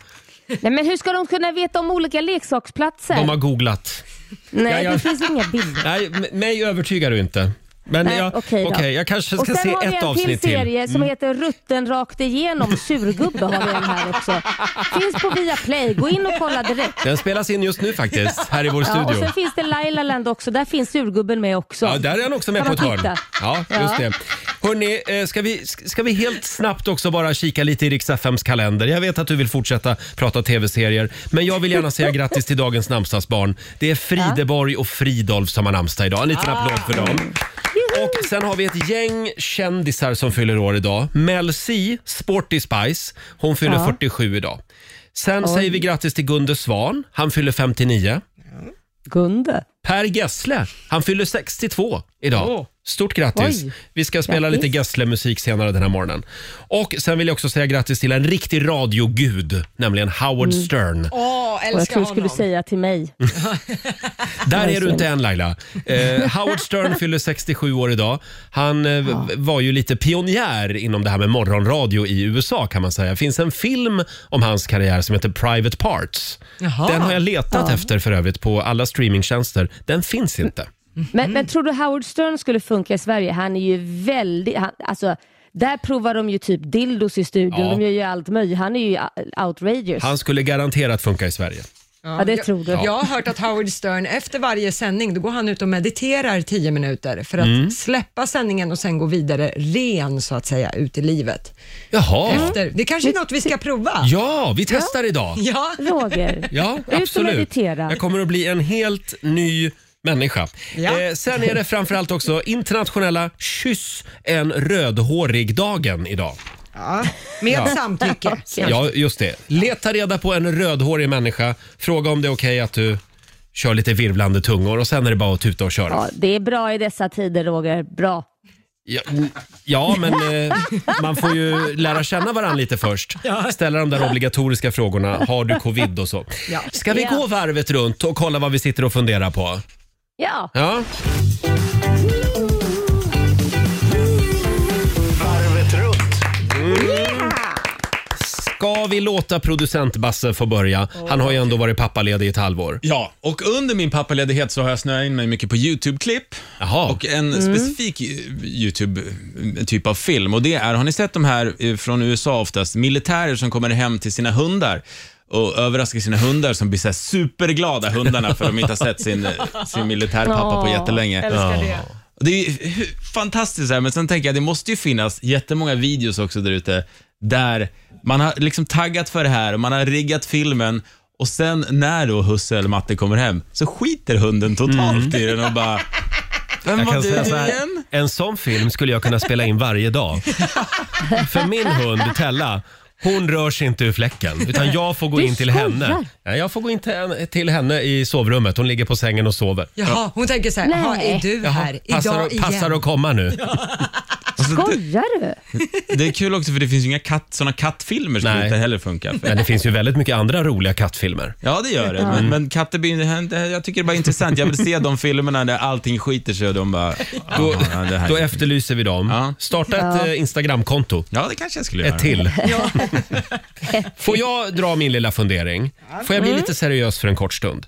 [SPEAKER 8] Nej, men hur ska de kunna veta om olika leksaksplatser?
[SPEAKER 1] De har googlat.
[SPEAKER 8] Nej,
[SPEAKER 1] Ja, jag-
[SPEAKER 8] det finns inga bilder.
[SPEAKER 1] Nej, m- mig övertygar du inte. Men
[SPEAKER 8] Nej,
[SPEAKER 1] jag,
[SPEAKER 8] okej då.
[SPEAKER 1] okej, jag kanske
[SPEAKER 8] och
[SPEAKER 1] ska
[SPEAKER 8] sen
[SPEAKER 1] se
[SPEAKER 8] har vi
[SPEAKER 1] ett
[SPEAKER 8] en till
[SPEAKER 1] avsnitt till. Mm.
[SPEAKER 8] serie som heter Rutten rakt igenom. Surgubbe har vi en här också. Finns på Viaplay. Gå in och kolla direkt.
[SPEAKER 1] Den spelas in just nu faktiskt, här i vår
[SPEAKER 8] Ja, och
[SPEAKER 1] studio.
[SPEAKER 8] sen finns det Laila Land också. Där finns surgubben med också.
[SPEAKER 1] Ja, där är han också med på
[SPEAKER 8] Kan
[SPEAKER 1] ett
[SPEAKER 8] man
[SPEAKER 1] hörn.
[SPEAKER 8] titta?
[SPEAKER 1] Ja, just
[SPEAKER 8] Ja.
[SPEAKER 1] det. Hörrni, eh, ska vi, ska vi helt snabbt också bara kika lite i riks FMs kalender? Jag vet att du vill fortsätta prata tv-serier, men jag vill gärna säga grattis till dagens namnsdagsbarn. Det är Frideborg och Fridolf som har namnsdag idag. En liten applåd för dem.
[SPEAKER 8] Ah.
[SPEAKER 1] Och sen har vi ett gäng kändisar som fyller år idag. Mel C, Sporty Spice, hon fyller
[SPEAKER 8] Ja.
[SPEAKER 1] 47 idag. Sen säger vi grattis till Gunde Svan, han fyller 59.
[SPEAKER 8] Gunde.
[SPEAKER 1] Per Gessle, han fyller 62 idag.
[SPEAKER 2] Åh.
[SPEAKER 1] Stort grattis!
[SPEAKER 8] Oj.
[SPEAKER 1] Vi ska spela
[SPEAKER 8] Grattis.
[SPEAKER 1] lite Gessle-musik senare den här morgonen. Och sen vill jag också säga grattis till en riktig radiogud, nämligen Howard
[SPEAKER 8] Mm.
[SPEAKER 1] Stern.
[SPEAKER 2] Åh,
[SPEAKER 8] Och jag
[SPEAKER 2] älskar
[SPEAKER 8] tror du skulle
[SPEAKER 2] honom.
[SPEAKER 8] säga till mig.
[SPEAKER 1] Där är
[SPEAKER 8] Alltså.
[SPEAKER 1] du inte än Laila. Eh, Howard Stern fyller 67 år idag. Han eh, v- var ju lite pionjär inom det här med morgonradio i USA kan man säga. Det finns en film om hans karriär som heter Private Parts.
[SPEAKER 2] Jaha.
[SPEAKER 1] Den har jag letat efter för övrigt på alla streamingtjänster. Den finns inte.
[SPEAKER 8] Men,
[SPEAKER 2] Mm.
[SPEAKER 8] men tror du Howard Stern skulle funka i Sverige? Han är ju väldigt, han, alltså där provar de ju typ dildos i studion,
[SPEAKER 1] Ja.
[SPEAKER 8] de gör ju allt möjligt. Han är ju o- outrageous.
[SPEAKER 1] Han skulle garanterat funka i Sverige.
[SPEAKER 8] Ja, det tror du.
[SPEAKER 2] Jag, jag har hört att Howard Stern efter varje sändning, då går han ut och mediterar 10 minuter för att
[SPEAKER 1] Mm.
[SPEAKER 2] släppa sändningen och sen gå vidare ren så att säga ut i livet.
[SPEAKER 1] Jaha.
[SPEAKER 2] Efter, det kanske är något vi ska prova?
[SPEAKER 1] Ja, vi testar idag.
[SPEAKER 2] Ja.
[SPEAKER 8] Roger,
[SPEAKER 1] Ja,
[SPEAKER 8] och
[SPEAKER 1] absolut.
[SPEAKER 8] meditera.
[SPEAKER 1] Jag kommer att bli en helt ny människa.
[SPEAKER 2] Ja.
[SPEAKER 1] Eh, sen är det framförallt också internationella kyss en rödhårig-dagen idag.
[SPEAKER 2] Ja, med samtycke.
[SPEAKER 1] Ja, just det. Leta reda på en rödhårig människa, fråga om det är okej att du kör lite virvlande tungor och sen är det bara att tuta och köra.
[SPEAKER 8] ja, det är bra i dessa tider Roger, bra.
[SPEAKER 1] Ja, mm, ja men eh, man får ju lära känna varandra lite först. Ställa de där obligatoriska frågorna. Har du covid och så.
[SPEAKER 2] Ja.
[SPEAKER 1] Ska vi
[SPEAKER 8] Ja.
[SPEAKER 1] gå varvet runt och kolla vad vi sitter och funderar på?
[SPEAKER 8] Ja,
[SPEAKER 1] Ja.
[SPEAKER 4] Varvet runt.
[SPEAKER 1] Ska vi låta producent Basse få börja? Han har ju ändå varit pappaledig i ett halvår.
[SPEAKER 3] Ja, och under min pappaledighet så har jag snöat in mig mycket på YouTube-klipp
[SPEAKER 1] Jaha.
[SPEAKER 3] och en
[SPEAKER 2] Mm.
[SPEAKER 3] specifik eh, YouTube-typ av film. Och det är, har ni sett de här eh, från USA oftast, militärer som kommer hem till sina hundar och överraskar sina hundar som blir så här superglada hundarna för att de inte har sett sin, eh, sin militärpappa på
[SPEAKER 8] Åh,
[SPEAKER 3] jättelänge.
[SPEAKER 2] Älskar det.
[SPEAKER 3] Och Det är ju hu- fantastiskt, så här, men sen tänker jag det måste ju finnas jättemånga videos också där ute där man har liksom taggat för det här och man har riggat filmen och sen när då husse eller matte kommer hem så skiter hunden totalt i den och bara Vem var du
[SPEAKER 1] så här,
[SPEAKER 3] igen?
[SPEAKER 1] en sån film skulle jag kunna spela in varje dag. För min hund Tella, hon rör sig inte ur fläcken. Utan jag får gå
[SPEAKER 8] Du
[SPEAKER 1] in till
[SPEAKER 8] skojar.
[SPEAKER 1] henne. Ja, jag får gå in till- till henne i sovrummet. Hon ligger på sängen och sover.
[SPEAKER 2] Jaha, hon tänker så här,
[SPEAKER 8] Nej.
[SPEAKER 2] jaha, är du
[SPEAKER 1] Jaha,
[SPEAKER 2] här
[SPEAKER 1] passar,
[SPEAKER 2] idag
[SPEAKER 1] att- passar
[SPEAKER 2] igen?
[SPEAKER 1] att komma nu.
[SPEAKER 8] skojar du?
[SPEAKER 3] Det är kul också för det finns ju inga katt, såna kattfilmer som
[SPEAKER 1] Nej.
[SPEAKER 3] inte heller funkar. För.
[SPEAKER 1] Men det finns Mm. ju väldigt mycket andra roliga kattfilmer.
[SPEAKER 3] Ja, det gör det. Men, men katter, blir- det här- det här- jag tycker det är bara intressant. Jag vill se de filmerna där allting skiter sig och de bara...
[SPEAKER 1] Då,
[SPEAKER 3] ja, det här.
[SPEAKER 1] då efterlyser vi dem.
[SPEAKER 3] Ja.
[SPEAKER 1] Starta ett eh, Instagramkonto.
[SPEAKER 3] ja, det kanske jag skulle göra.
[SPEAKER 1] Ett till. Får jag dra min lilla fundering? Får jag bli lite seriös för en kort stund?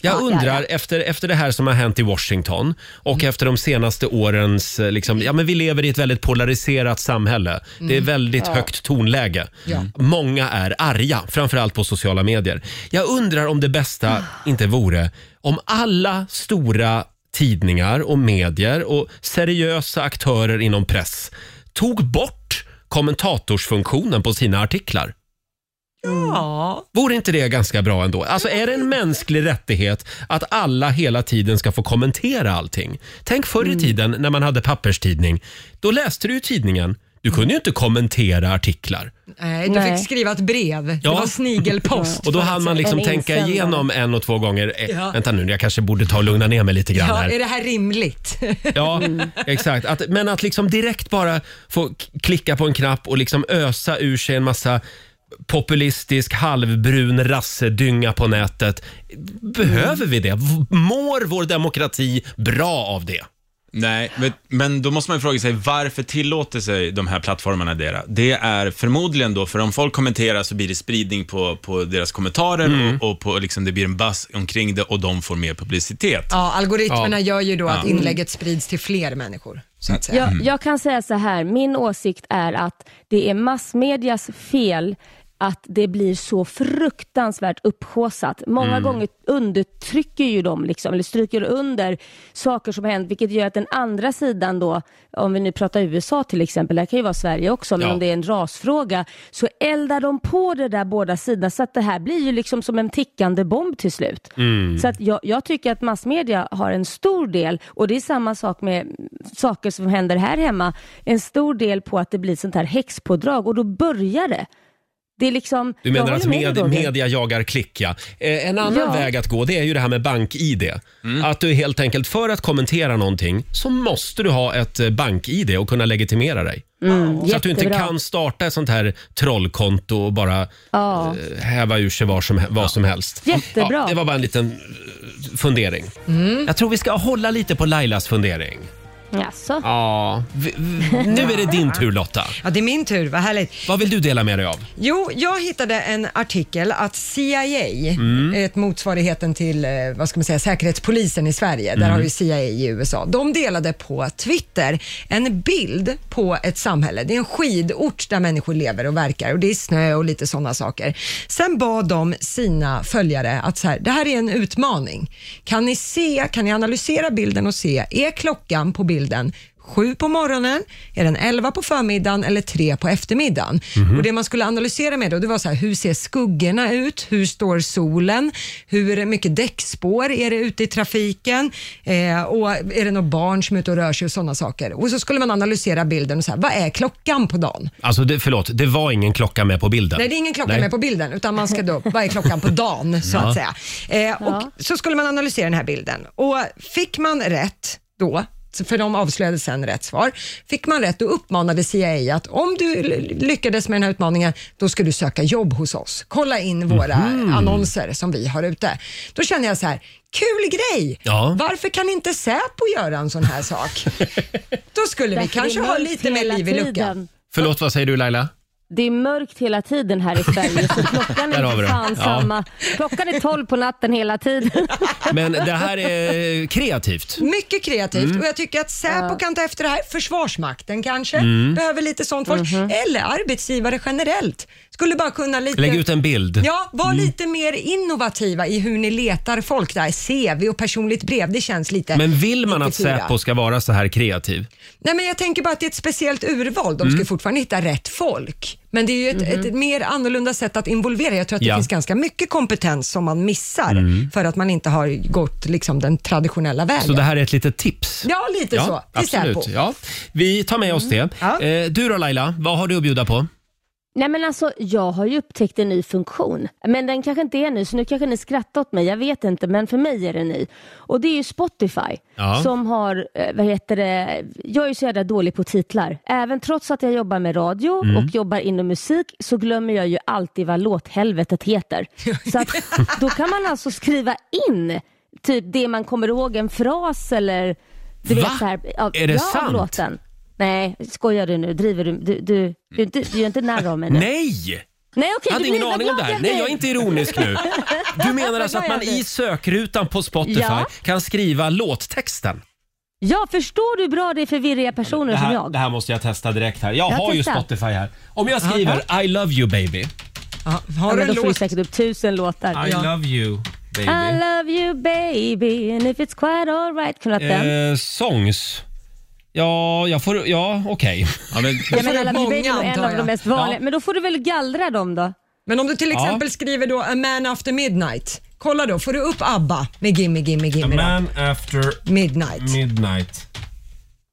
[SPEAKER 1] Jag undrar, Efter, efter det här som har hänt i Washington och efter de senaste årens... eh, Liksom, ja, men vi lever i ett väldigt polariserat samhälle. Det är väldigt högt tonläge. Många är arga, framförallt på sociala medier. Jag undrar om det bästa inte vore om alla stora tidningar och medier och seriösa aktörer inom press tog bort kommentatorsfunktionen på sina artiklar.
[SPEAKER 2] Ja.
[SPEAKER 1] Vore inte det ganska bra ändå? Alltså är det en mänsklig rättighet att alla hela tiden ska få kommentera allting? Tänk förr i tiden när man hade papperstidning. Då läste du ju tidningen. Du kunde ju inte kommentera artiklar.
[SPEAKER 2] Nej, du
[SPEAKER 8] Nej.
[SPEAKER 2] fick skriva ett brev.
[SPEAKER 1] Ja.
[SPEAKER 2] Det var snigelpost.
[SPEAKER 1] Och då hann man liksom
[SPEAKER 8] En
[SPEAKER 1] tänka
[SPEAKER 8] insändare.
[SPEAKER 1] igenom en och två gånger. Eh,
[SPEAKER 2] Ja.
[SPEAKER 1] Vänta nu, jag kanske borde ta och lugna ner mig lite grann
[SPEAKER 2] Ja,
[SPEAKER 1] här.
[SPEAKER 2] är det här rimligt?
[SPEAKER 1] Ja, exakt. Att, men att liksom direkt bara få k- klicka på en knapp och liksom ösa ur sig en massa populistisk halvbrun rassedynga på nätet. Behöver vi det? V- Mår vår demokrati bra av det?
[SPEAKER 3] Nej, men, men då måste man ju fråga sig varför tillåter sig de här plattformarna det? Det är förmodligen då, för om folk kommenterar så blir det spridning på, på deras kommentarer
[SPEAKER 1] Mm.
[SPEAKER 3] och, och på, liksom, det blir en buzz omkring det och de får mer publicitet.
[SPEAKER 2] Ja, algoritmerna
[SPEAKER 1] Ja. Mm.
[SPEAKER 2] gör ju då att inlägget sprids till fler människor. Så att säga. Mm.
[SPEAKER 8] Jag, jag kan säga så här, min åsikt är att det är massmedias fel att det blir så fruktansvärt upphaussat. Många
[SPEAKER 2] Mm.
[SPEAKER 8] gånger undertrycker ju de, liksom, eller stryker under saker som hänt, vilket gör att den andra sidan då, om vi nu pratar USA till exempel, det här kan ju vara Sverige också, men
[SPEAKER 1] Ja.
[SPEAKER 8] om det är en rasfråga, så eldar de på det där båda sidorna, så att det här blir ju liksom som en tickande bomb till slut.
[SPEAKER 1] Mm.
[SPEAKER 8] Så att jag, jag tycker att massmedia har en stor del, och det är samma sak med saker som händer här hemma, en stor del på att det blir sånt här häxpådrag och då börjar det. Det är liksom...
[SPEAKER 1] Du
[SPEAKER 8] jag
[SPEAKER 1] menar att
[SPEAKER 8] håller med dig,
[SPEAKER 1] med,
[SPEAKER 8] Roger.
[SPEAKER 1] media jagar klick, ja. Eh, En annan
[SPEAKER 8] Ja.
[SPEAKER 1] väg att gå det är ju det här med bank-id. Att du helt enkelt, för att kommentera någonting så måste du ha ett eh, bank-id och kunna legitimera dig. så att du inte
[SPEAKER 8] jättebra.
[SPEAKER 1] kan starta ett sånt här trollkonto och bara
[SPEAKER 8] Ja.
[SPEAKER 1] eh, häva ur sig vad som, vad som helst.
[SPEAKER 8] Jättebra.
[SPEAKER 1] Ja, det var bara en liten eh, fundering. Jag tror vi ska hålla lite på Lailas fundering.
[SPEAKER 8] Jaså?
[SPEAKER 1] Ja. vi- vi- Nu är det din tur Lotta.
[SPEAKER 2] Ja, det är min tur, vad härligt.
[SPEAKER 1] Vad vill du dela med dig av?
[SPEAKER 2] Jo, jag hittade en artikel att CIA, ett motsvarigheten till eh, vad ska man säga, säkerhetspolisen i Sverige, där har ju CIA i USA, de delade på Twitter en bild på ett samhälle. Det är en skidort där människor lever och verkar och det är snö och lite sådana saker. Sen bad de sina följare att så här, det här är en utmaning. Kan ni se, kan ni analysera bilden och se, är klockan på bilden sju på morgonen, är den elva på förmiddagen eller tre på eftermiddagen? Och Det man skulle analysera med då, det var så här, hur ser skuggorna ut? Hur står solen? Hur mycket däckspår är det ute i trafiken? Eh, och är det några barn som är ute och rör sig och sådana saker? Och så skulle man analysera bilden och så här, vad är klockan på dagen?
[SPEAKER 1] Alltså, det, förlåt, det var ingen klocka med på bilden.
[SPEAKER 2] Nej, det är ingen klocka
[SPEAKER 1] Nej.
[SPEAKER 2] med på bilden, utan man ska då, vad är klockan på dagen så att säga. Eh, och Så skulle man analysera den här bilden och fick man rätt då, för de avslöjade sen rätt svar, fick man rätt då uppmanade CIA att om du l- lyckades med den här utmaningen, då ska du söka jobb hos oss. Kolla in våra
[SPEAKER 1] Mhm.
[SPEAKER 2] annonser som vi har ute. Då känner jag så här, kul grej!
[SPEAKER 1] Ja.
[SPEAKER 2] Varför kan inte Säpo göra en sån här sak? då skulle vi
[SPEAKER 8] Därför
[SPEAKER 2] kanske
[SPEAKER 8] det är
[SPEAKER 2] ha
[SPEAKER 8] mörkt
[SPEAKER 2] lite mer
[SPEAKER 8] hela
[SPEAKER 2] liv i luckan.
[SPEAKER 8] tiden.
[SPEAKER 1] Förlåt, vad säger du Laila?
[SPEAKER 8] Det är mörkt hela tiden här i Sverige så klockan
[SPEAKER 1] Där har
[SPEAKER 8] är
[SPEAKER 1] vi det.
[SPEAKER 8] inte fan
[SPEAKER 1] Ja.
[SPEAKER 8] samma. Klockan är tolv på natten hela tiden.
[SPEAKER 1] Men det här är kreativt.
[SPEAKER 2] Mycket kreativt
[SPEAKER 1] Mm.
[SPEAKER 2] och jag tycker att Säpo kan ta efter det här. Försvarsmakten kanske
[SPEAKER 1] Mm.
[SPEAKER 2] behöver lite sånt folk.
[SPEAKER 1] Mm-hmm.
[SPEAKER 2] Eller arbetsgivare generellt. Skulle bara kunna lite...
[SPEAKER 1] Lägg ut en bild. Mm.
[SPEAKER 2] Ja, var lite mer innovativa i hur ni letar folk där. CV och personligt brev, det känns lite...
[SPEAKER 1] Mm. Men vill man att
[SPEAKER 2] 94.
[SPEAKER 1] Säpo ska vara så här kreativ?
[SPEAKER 2] Nej, men jag tänker bara att det är ett speciellt urval. De ska
[SPEAKER 1] Mm.
[SPEAKER 2] ju fortfarande hitta rätt folk. Men det är ju ett, ett mer annorlunda sätt att involvera. Jag tror att det
[SPEAKER 1] Mm-hmm. Ja. Mm.
[SPEAKER 2] finns ganska mycket kompetens som man missar för att man inte har gått liksom, den traditionella vägen.
[SPEAKER 1] Så det här är ett litet tips?
[SPEAKER 2] Ja, lite så. Till
[SPEAKER 1] absolut.
[SPEAKER 2] Säpo.
[SPEAKER 1] Ja. Vi tar med oss det.
[SPEAKER 2] Ja.
[SPEAKER 1] Eh, Du då Laila, vad har du att bjuda på?
[SPEAKER 8] Nej men alltså jag har ju upptäckt en ny funktion. Men den kanske inte är ny så nu kanske ni skrattar åt mig. Jag vet inte men för mig är den ny. Och det är ju Spotify
[SPEAKER 1] Ja.
[SPEAKER 8] som har, eh, vad heter det, jag är ju så jävla dålig på titlar. Även trots att jag jobbar med radio
[SPEAKER 1] Mm.
[SPEAKER 8] och jobbar inom musik så glömmer jag ju alltid vad låthelvetet heter. Så att, då kan man alltså skriva in typ det man kommer ihåg, en fras eller du
[SPEAKER 1] Va?
[SPEAKER 8] vet så här, av,
[SPEAKER 1] Är det
[SPEAKER 8] ja,
[SPEAKER 1] sant?
[SPEAKER 8] Av låten. Nej, skojar du nu? Driver du? Du, du, du, du, du är inte narr av mig nu.
[SPEAKER 1] Nej!
[SPEAKER 8] Nej okej,
[SPEAKER 1] Jag hade
[SPEAKER 8] du blir
[SPEAKER 1] ingen
[SPEAKER 8] vad
[SPEAKER 1] aning om
[SPEAKER 8] glad
[SPEAKER 1] det här.
[SPEAKER 8] blir.
[SPEAKER 1] Nej, jag är inte ironisk nu. Du menar alltså
[SPEAKER 8] glad
[SPEAKER 1] att
[SPEAKER 8] jag
[SPEAKER 1] man
[SPEAKER 8] blir.
[SPEAKER 1] i sökrutan på Spotify
[SPEAKER 8] Ja.
[SPEAKER 1] kan skriva låttexten?
[SPEAKER 8] Ja, förstår du hur bra det är för virriga personer
[SPEAKER 1] Det
[SPEAKER 8] som
[SPEAKER 1] här,
[SPEAKER 8] jag?
[SPEAKER 1] det här måste jag testa direkt här. Jag,
[SPEAKER 8] Jag
[SPEAKER 1] har ju
[SPEAKER 8] testar.
[SPEAKER 1] Spotify här. Om jag skriver I love you baby.
[SPEAKER 2] Ja, har
[SPEAKER 8] Ja,
[SPEAKER 2] du
[SPEAKER 8] men
[SPEAKER 2] en
[SPEAKER 8] då får du
[SPEAKER 2] låt?
[SPEAKER 8] säkert upp tusen låtar.
[SPEAKER 1] I love you baby.
[SPEAKER 8] I love you baby and if it's quite alright. Kan du ha den?
[SPEAKER 1] Eh, songs. Ja, jag får... Ja, okej.
[SPEAKER 3] Ja, men,
[SPEAKER 8] Jag
[SPEAKER 2] får
[SPEAKER 8] menar, I
[SPEAKER 2] upp
[SPEAKER 8] love you baby
[SPEAKER 2] många,
[SPEAKER 8] är en
[SPEAKER 2] antar
[SPEAKER 8] av
[SPEAKER 2] jag.
[SPEAKER 8] de mest vanliga.
[SPEAKER 1] Ja.
[SPEAKER 8] Men då får du väl gallra dem då?
[SPEAKER 2] Men om du till
[SPEAKER 1] Ja.
[SPEAKER 2] exempel skriver då A man after midnight. Kolla då, får du upp ABBA med Gimme Gimme Gimme då?
[SPEAKER 1] after
[SPEAKER 8] Mm.
[SPEAKER 2] Midnight.
[SPEAKER 1] midnight.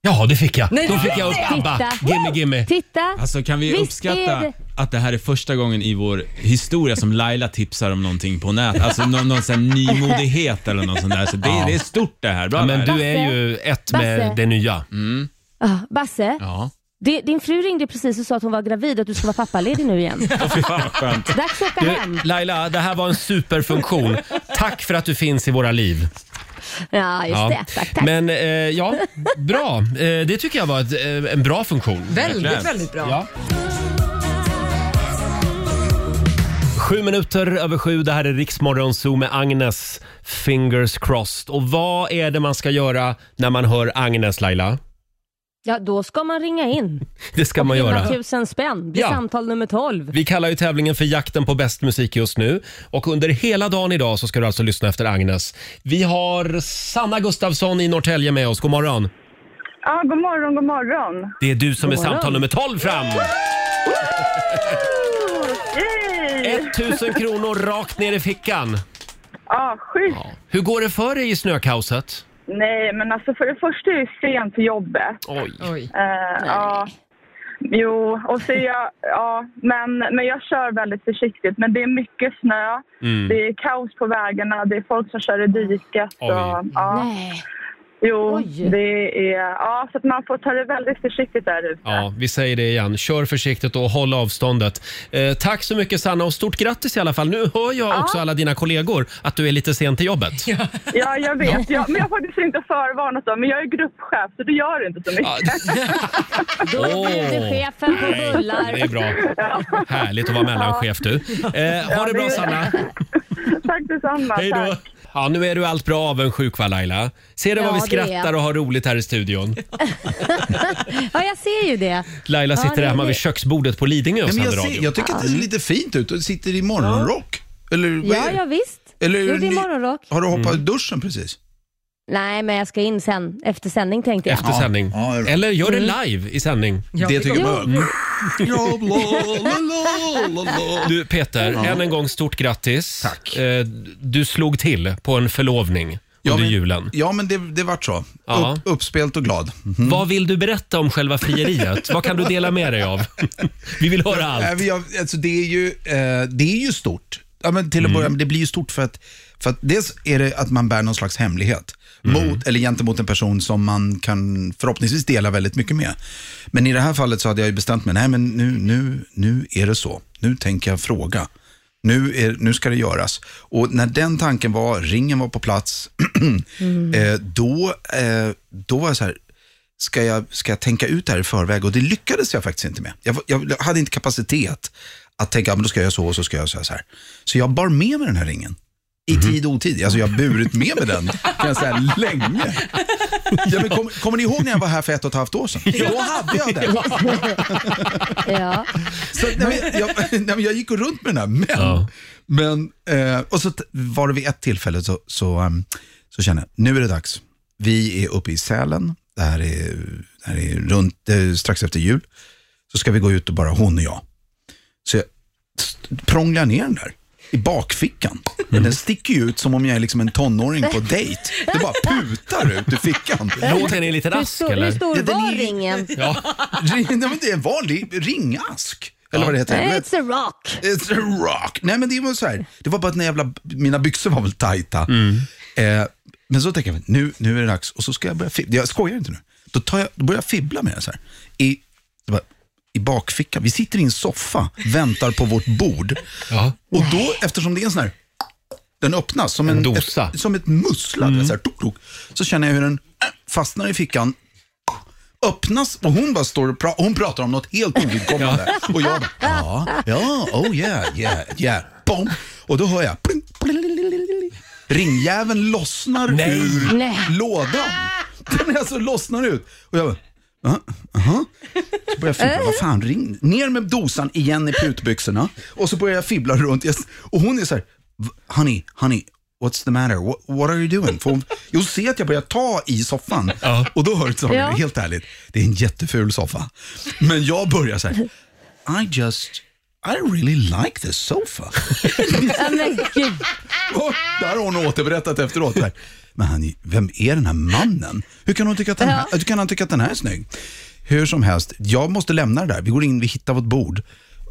[SPEAKER 1] Ja, det fick jag.
[SPEAKER 2] Nej,
[SPEAKER 1] Då
[SPEAKER 2] det
[SPEAKER 1] fick
[SPEAKER 2] fick
[SPEAKER 1] jag upp
[SPEAKER 8] jag.
[SPEAKER 1] ABBA.
[SPEAKER 8] Titta.
[SPEAKER 1] Gimme, gimme.
[SPEAKER 8] Titta!
[SPEAKER 3] alltså, kan vi
[SPEAKER 8] Visst
[SPEAKER 3] uppskatta
[SPEAKER 8] är det-
[SPEAKER 3] att det här är första gången i vår historia som Laila tipsar om någonting på nätet? Alltså någon, någon sån här nymodighet eller något sånt där. Så det, det är stort det här. Bra
[SPEAKER 1] Ja, men
[SPEAKER 3] Laila.
[SPEAKER 1] du är ju ett med
[SPEAKER 8] Basse.
[SPEAKER 1] det nya.
[SPEAKER 8] Ah, Basse,
[SPEAKER 3] Mm. Ja.
[SPEAKER 8] di- din fru ringde precis och sa att hon var gravid och att du ska vara pappaledig nu igen. Dags att åka hem.
[SPEAKER 1] Du, Laila, det här var en superfunktion. Tack för att du finns i våra liv.
[SPEAKER 8] Ja, just
[SPEAKER 1] Ja.
[SPEAKER 8] det. Tack, tack.
[SPEAKER 1] Men eh, ja, bra. Eh, det tycker jag var ett, eh, en bra funktion.
[SPEAKER 2] Väldigt,
[SPEAKER 3] Verkligen.
[SPEAKER 2] väldigt bra.
[SPEAKER 1] Ja. Sju minuter över sju, det här är Riksmorgon Zoo med Agnes. Fingers crossed. Och vad är det man ska göra när man hör Agnes, Laila?
[SPEAKER 8] Ja, då ska man ringa in.
[SPEAKER 1] Det ska man göra.
[SPEAKER 8] tusen spänn. Det är
[SPEAKER 1] Ja.
[SPEAKER 8] samtal nummer 12.
[SPEAKER 1] Vi kallar ju tävlingen för jakten på bäst musik just nu. Och under hela dagen idag så ska du alltså lyssna efter Agnes. Vi har Sanna Gustafsson i Norrtälje med oss. God morgon.
[SPEAKER 7] Ja, god morgon, god morgon.
[SPEAKER 1] Det är du som är
[SPEAKER 8] God morgon.
[SPEAKER 1] samtal nummer 12 fram!
[SPEAKER 7] Yay!
[SPEAKER 1] 1000 kronor rakt ner i fickan.
[SPEAKER 7] Ja, sjukt.
[SPEAKER 1] Hur går det för dig i snökaoset?
[SPEAKER 7] Nej, men alltså för det första är jag sent till jobbet.
[SPEAKER 1] Oj.
[SPEAKER 2] Oj.
[SPEAKER 7] Eh, ja. Jo, och så är jag, ja, men, men jag kör väldigt försiktigt. Men det är mycket snö, det är kaos på vägarna, det är folk som kör i diket.
[SPEAKER 1] Oj.
[SPEAKER 7] Och, ja,
[SPEAKER 8] Nej.
[SPEAKER 7] jo,
[SPEAKER 8] Oj.
[SPEAKER 7] det är, ja, så att man får ta det väldigt försiktigt där ute.
[SPEAKER 1] Ja, vi säger det igen. Kör försiktigt och håll avståndet. Eh, tack så mycket Sanna och stort grattis i alla fall. Nu hör jag också alla dina kollegor att du är lite sen till jobbet.
[SPEAKER 7] Ja, jag vet. Ja, men jag har faktiskt inte förvarnat dem. Men jag är gruppchef, så det gör inte så mycket.
[SPEAKER 8] Då blir du
[SPEAKER 1] Åh.
[SPEAKER 8] chefen på
[SPEAKER 1] Nej, Det är
[SPEAKER 8] bullar.
[SPEAKER 1] bra. Härligt att vara mellanchef du. Eh, ha det bra
[SPEAKER 7] det-
[SPEAKER 1] Sanna.
[SPEAKER 7] Tack detsamma.
[SPEAKER 1] Hej då.
[SPEAKER 7] Tack.
[SPEAKER 1] Ja, nu är du allt bra avundsjuk va Laila? Ser du
[SPEAKER 8] Ja,
[SPEAKER 1] vad vi
[SPEAKER 8] det är jag.
[SPEAKER 1] skrattar och har roligt här i studion?
[SPEAKER 8] Ja, jag ser ju det.
[SPEAKER 1] Laila
[SPEAKER 8] Ja,
[SPEAKER 1] sitter
[SPEAKER 8] det-
[SPEAKER 1] hemma vid köksbordet på Lidingö och
[SPEAKER 9] Nej, men
[SPEAKER 1] sänder
[SPEAKER 9] jag,
[SPEAKER 1] radio. Mm.
[SPEAKER 9] ser, jag tycker att det ser lite fint ut. Du sitter i morgonrock. Eller vad
[SPEAKER 8] Ja,
[SPEAKER 9] är det?
[SPEAKER 8] ja visst.
[SPEAKER 9] Eller
[SPEAKER 8] Jo, det är
[SPEAKER 9] ni-
[SPEAKER 8] morgonrock.
[SPEAKER 9] Har du hoppat ur duschen precis?
[SPEAKER 8] Nej, men jag ska in sen. Efter sändning tänkte jag.
[SPEAKER 1] Efter sändning.
[SPEAKER 9] Ja, det är bra.
[SPEAKER 1] Eller gör
[SPEAKER 8] Mm.
[SPEAKER 1] det live i sändning. Mm.
[SPEAKER 9] det tycker
[SPEAKER 8] Jo.
[SPEAKER 9] jag bara... Ja, la, la, la, la, la.
[SPEAKER 1] Du Peter, än en gång stort grattis.
[SPEAKER 9] Tack.
[SPEAKER 1] Eh, Du slog till på en förlovning
[SPEAKER 9] Ja,
[SPEAKER 1] under
[SPEAKER 9] men-
[SPEAKER 1] julen.
[SPEAKER 9] Ja, men det, det vart så.
[SPEAKER 1] Ja.
[SPEAKER 9] Upp, uppspelt och glad. Mhm.
[SPEAKER 1] Vad vill du berätta om själva frieriet? Vad kan du dela med dig av? Vi vill höra allt.
[SPEAKER 9] Nej, men jag, alltså det, är ju, eh, det är ju stort. Ja, men
[SPEAKER 1] Mm.
[SPEAKER 9] till att börja med, det blir ju stort för att, för att dels är det att man bär någon slags hemlighet
[SPEAKER 1] Mm.
[SPEAKER 9] mot, eller gentemot en person som man kan förhoppningsvis dela väldigt mycket med. Men i det här fallet så hade jag ju bestämt mig, nej men nu, nu, nu är det så. Nu tänker jag fråga. Nu, är, nu ska det göras. Och när den tanken var, ringen var på plats,
[SPEAKER 8] Mm.
[SPEAKER 9] eh, då, eh, då var jag så här, ska jag, ska jag tänka ut det här i förväg? Och det lyckades jag faktiskt inte med. Jag, var- jag hade inte kapacitet att tänka, "Ja, men då ska jag göra så och så ska jag göra så här. Så jag bar med mig den här ringen. I tid och otid. Alltså jag har burit med mig den, kan jag säga, länge. Ja, men kom, kommer ni ihåg när jag var här för ett och ett halvt år sedan? Då hade jag den.
[SPEAKER 8] Ja.
[SPEAKER 9] Så, nej, men, jag, nej, men jag gick runt med den här, men,
[SPEAKER 1] Ja.
[SPEAKER 9] men eh, och så t- var det vid ett tillfälle så, så, ehm, så kände jag, nu är det dags. Vi är uppe i Sälen, det här är, det här är runt, eh, strax efter jul. Så ska vi gå ut och bara hon och jag. Så jag st- prånglar ner den där i bakfickan. Men
[SPEAKER 1] Mm.
[SPEAKER 9] den sticker ju ut som om jag är liksom en tonåring på dejt. Det bara putar ut ur fickan.
[SPEAKER 1] Låg den i en liten
[SPEAKER 8] Hur
[SPEAKER 1] ask
[SPEAKER 8] stor, hur
[SPEAKER 1] eller?
[SPEAKER 8] stor
[SPEAKER 9] Ja, den
[SPEAKER 8] var
[SPEAKER 9] är-
[SPEAKER 8] ringen?
[SPEAKER 1] Ja.
[SPEAKER 9] Nej, men det är en vanlig ringask. Eller vad det heter. Du vet.
[SPEAKER 8] It's a rock.
[SPEAKER 9] It's a rock. Nej men det var så här. Det var bara att när jävla, mina byxor var väl tajta. Eh, men så tänker jag, nu, nu är det dags och så ska jag börja fibbla. Jag skojar inte nu. Då, tar jag, då börjar jag fibbla med den så här. I, det var, I bakfickan. Vi sitter i en soffa, väntar på vårt bord.
[SPEAKER 1] Ja.
[SPEAKER 9] Och då, eftersom det är en sån här, den öppnas som en,
[SPEAKER 1] dosa.
[SPEAKER 9] Ett, som ett mussla, så, här, tok, tok, så känner jag hur den fastnar i fickan, öppnas och hon bara står och pra- hon pratar om något helt ovidkommande. Och jag bara, ja, ja, oh yeah, yeah, yeah, bom. Och då hör jag, pling, pling, pling, pling, pling. ringjäveln lossnar
[SPEAKER 1] Nej.
[SPEAKER 9] ur
[SPEAKER 8] Nej.
[SPEAKER 9] lådan. Den alltså lossnar ut. Och jag bara, aha, aha. Så börjar jag fibbla, vad fan, ring. Ner med dosan igen i putbyxorna. Och så börjar jag fibbla runt. Jag- Och hon är så här, "V- honey, honey, what's the matter? What, what are you doing? För hon, jo, se att jag börjar ta i soffan. Och då hör jag till
[SPEAKER 8] Ja.
[SPEAKER 9] helt ärligt, det är en jätteful soffa. Men jag börjar så här, I just, I really like this sofa.
[SPEAKER 8] Ja, men gud.
[SPEAKER 9] Och där har hon återberättat efteråt. Där. Men han, vem är den här mannen? Hur kan, hon tycka att den här, hur kan han tycka att den här är snygg? Hur som helst, jag måste lämna det där. Vi går in, vi hittar vårt bord.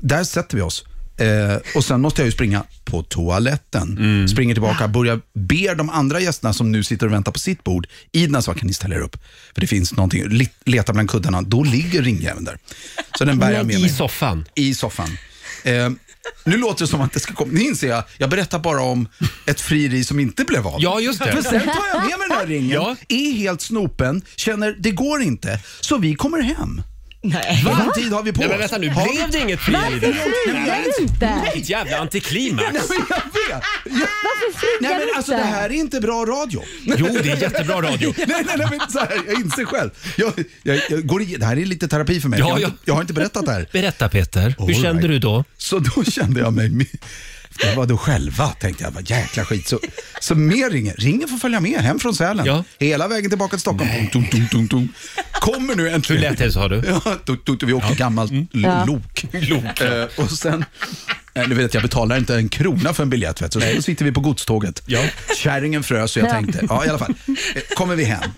[SPEAKER 9] Där sätter vi oss. Eh, och sen måste jag ju springa på toaletten.
[SPEAKER 1] Mm.
[SPEAKER 9] Springer tillbaka, börjar ber de andra gästerna som nu sitter och väntar på sitt bord i den här så kan ni ställa er upp? För det finns någonting, Lit- leta bland kuddarna, då ligger ringjäveln där. Så den bär jag med
[SPEAKER 1] I
[SPEAKER 9] mig
[SPEAKER 1] soffan.
[SPEAKER 9] i soffan. Eh, nu låter det som att det ska komma, nu inser jag, jag berättar bara om ett frieri som inte blev av.
[SPEAKER 1] Ja, just det.
[SPEAKER 9] För sen tar jag med mig den här ringen,
[SPEAKER 1] Ja.
[SPEAKER 9] är helt snopen, känner det går inte, så vi kommer hem. Nej. Vad tid har vi på
[SPEAKER 1] Nej, men
[SPEAKER 9] oss?
[SPEAKER 1] vänta nu,
[SPEAKER 9] Har vi-
[SPEAKER 1] blev det inget frieri? där?
[SPEAKER 8] Friar du inte?
[SPEAKER 1] Ett jävla antiklimax.
[SPEAKER 9] Nej, men jag vet. Jag,
[SPEAKER 8] Varför friar
[SPEAKER 9] nej,
[SPEAKER 8] du
[SPEAKER 9] men alltså det
[SPEAKER 8] inte?
[SPEAKER 9] här är inte bra radio.
[SPEAKER 1] Jo, det är jättebra radio.
[SPEAKER 9] Nej, nej, nej, men så här, jag inser själv. Jag, jag, jag går i, det här är lite terapi för mig.
[SPEAKER 1] Ja,
[SPEAKER 9] jag, har
[SPEAKER 1] ja.
[SPEAKER 9] inte- jag har inte berättat det här.
[SPEAKER 1] Berätta Peter, hur
[SPEAKER 9] All
[SPEAKER 1] kände
[SPEAKER 9] right.
[SPEAKER 1] du då?
[SPEAKER 9] Så då kände jag mig... Jag var då själva, tänkte jag. Vad jäkla skit. Så, så med ringen. Ringen får följa med hem från Sälen.
[SPEAKER 1] Ja.
[SPEAKER 9] Hela vägen tillbaka till Stockholm. Tung, tung, tung, tung, tung. Kommer nu äntligen.
[SPEAKER 1] Hur lät det, sa du? Mm.
[SPEAKER 9] Ja, tung, tung, tung. Vi åkte gammalt lo- lok. Eh, och sen... eh, Du vet, jag betalar inte en krona för en biljett. Vet, du. så då sitter vi på godståget.
[SPEAKER 1] Ja.
[SPEAKER 9] Kärringen frös och jag
[SPEAKER 8] Ja.
[SPEAKER 9] tänkte, ja i alla fall. Eh, Kommer vi hem.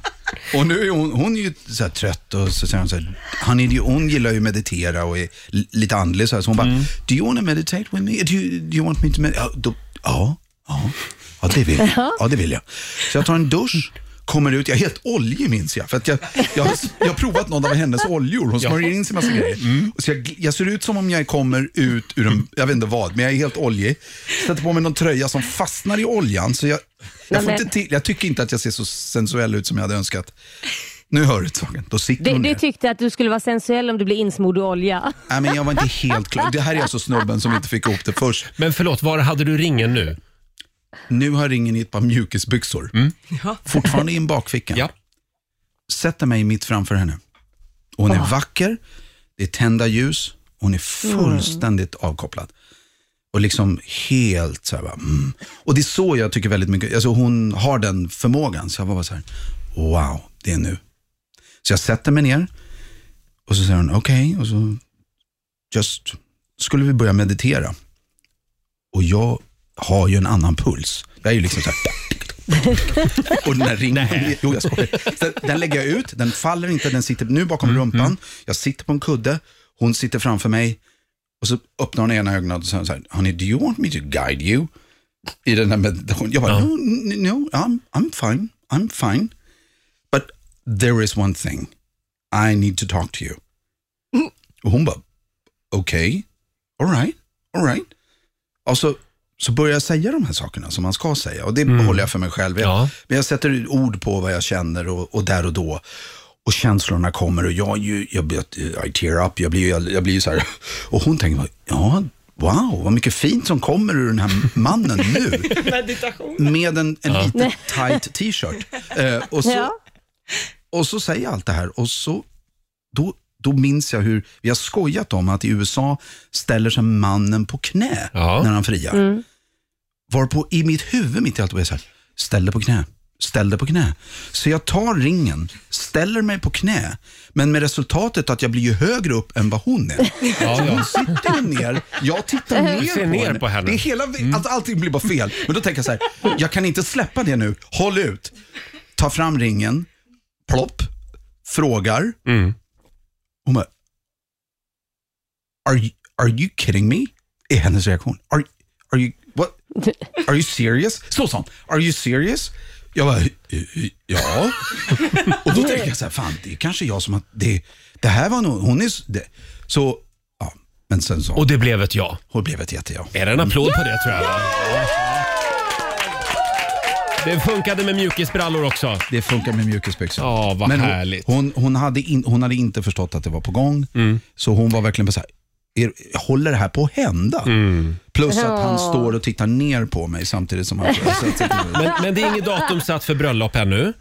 [SPEAKER 9] Och nu är hon, hon är ju så här trött och så säger hon så här, han är ju, hon gillar ju att meditera och är li- lite andlig så här. Så hon bara, do you want to meditate with me? Do you, do you want me to meditate? Ja, då, ja, ja, ja, det vill jag. Ja, det vill jag. Så jag tar en dusch, kommer ut, jag är helt oljig minns jag. För att jag, jag, har, jag har provat någon av hennes oljor, hon smörjer in sig massa grejer. Och Mm. Så jag, jag ser ut som om jag kommer ut ur en, jag vet inte vad, men jag är helt oljig. Sätter på mig någon tröja som fastnar i oljan. Så jag, jag,
[SPEAKER 8] Nej,
[SPEAKER 9] får
[SPEAKER 8] men-
[SPEAKER 9] inte till, jag tycker inte att jag ser så sensuell ut som jag hade önskat. Nu hör du det, Sagan. Då sitter
[SPEAKER 8] Det,
[SPEAKER 9] hon
[SPEAKER 8] det
[SPEAKER 9] ner.
[SPEAKER 8] tyckte att du skulle vara sensuell om du blir insmord i olja.
[SPEAKER 9] Nej, men jag var inte helt klar. Det här är alltså snubben som inte fick ihop det först.
[SPEAKER 1] Men förlåt, var hade du ringen nu? Mm.
[SPEAKER 9] Nu har ringen i ett par mjukisbyxor. Fortfarande i en bakficka.
[SPEAKER 1] Ja.
[SPEAKER 9] Sätter mig mitt framför henne. Och hon är vacker, det är tända ljus, och hon är fullständigt avkopplad. Och liksom helt så här, bara, mm. Och det är så jag tycker väldigt mycket, alltså hon har den förmågan. Så jag var bara så här, wow, det är nu. Så jag sätter mig ner och så säger hon okej och så just skulle vi börja meditera. Och jag har ju en annan puls. Jag är ju liksom så här. Och den här ringen, jo jag skojar. Den, den lägger jag ut, den faller inte, den sitter nu bakom rumpan. Jag sitter på en kudde, hon sitter framför mig. Och så öppnar hon ena ögonen och säger så här, honey do you want me to guide you? I den här meditationen. Jag bara, no, n- no I'm, I'm fine, I'm fine. But there is one thing, I need to talk to you. Och hon bara, okej, all right, all right. Och så, så börjar jag säga de här sakerna som man ska säga. Och det behåller jag för mig själv. Jag,
[SPEAKER 1] Ja.
[SPEAKER 9] Men jag sätter ord på vad jag känner och, och där och då. Och känslorna kommer och jag, är ju, jag, blir- I tear up, jag blir, jag, jag blir ju så här. Och hon tänker, bara, ja, wow, vad mycket fint som kommer ur den här mannen nu. Med en, en lite tight t-shirt. Eh, och, så,
[SPEAKER 8] Ja.
[SPEAKER 9] och så säger jag allt det här och så då, då minns jag hur vi har skojat om att i USA ställer sig mannen på knä
[SPEAKER 1] Ja.
[SPEAKER 9] när han friar. Varpå i mitt huvud mitt i allt var jag så här, ställ dig på knä, ställ dig på knä. Så jag tar ringen, ställer mig på knä, men med resultatet att jag blir ju högre upp än vad hon är.
[SPEAKER 1] Ja, ja.
[SPEAKER 9] Sitter hon ner, jag tittar ner,
[SPEAKER 1] ser
[SPEAKER 9] på,
[SPEAKER 1] ner
[SPEAKER 9] henne.
[SPEAKER 1] på henne. Mm.
[SPEAKER 9] Det är hela, alltså, allting blir bara fel. Men då tänker jag så här, jag kan inte släppa det nu, håll ut. Ta fram ringen, plopp, frågar. Hon bara, are you, are you kidding me? Är hennes reaktion. Are, are you, what? Are you serious? Så sa hon. Are you serious? Jag bara, "Eh, ja. Och då tänker jag så här, fan det är kanske jag som har, det, det här var nog, hon är, s- det. så, ja. Men sen så,
[SPEAKER 1] Och det blev ett ja.
[SPEAKER 9] hon blev ett jätteja.
[SPEAKER 1] Är det en applåd på det tror jag? va? Det funkade med mjukisbrallor också.
[SPEAKER 9] Det funkar med mjukisbyxor.
[SPEAKER 1] Ja, vad
[SPEAKER 9] hon,
[SPEAKER 1] härligt. Mm.
[SPEAKER 9] Hon, hon, hade in, hon hade inte förstått att det var på gång, så hon var verkligen bara så här, "Är- håller det här på att hända?
[SPEAKER 1] Mm.
[SPEAKER 9] Plus att han står och tittar ner på mig samtidigt som han... så att- så att-
[SPEAKER 1] Men, men det är inget datum satt för bröllop ännu.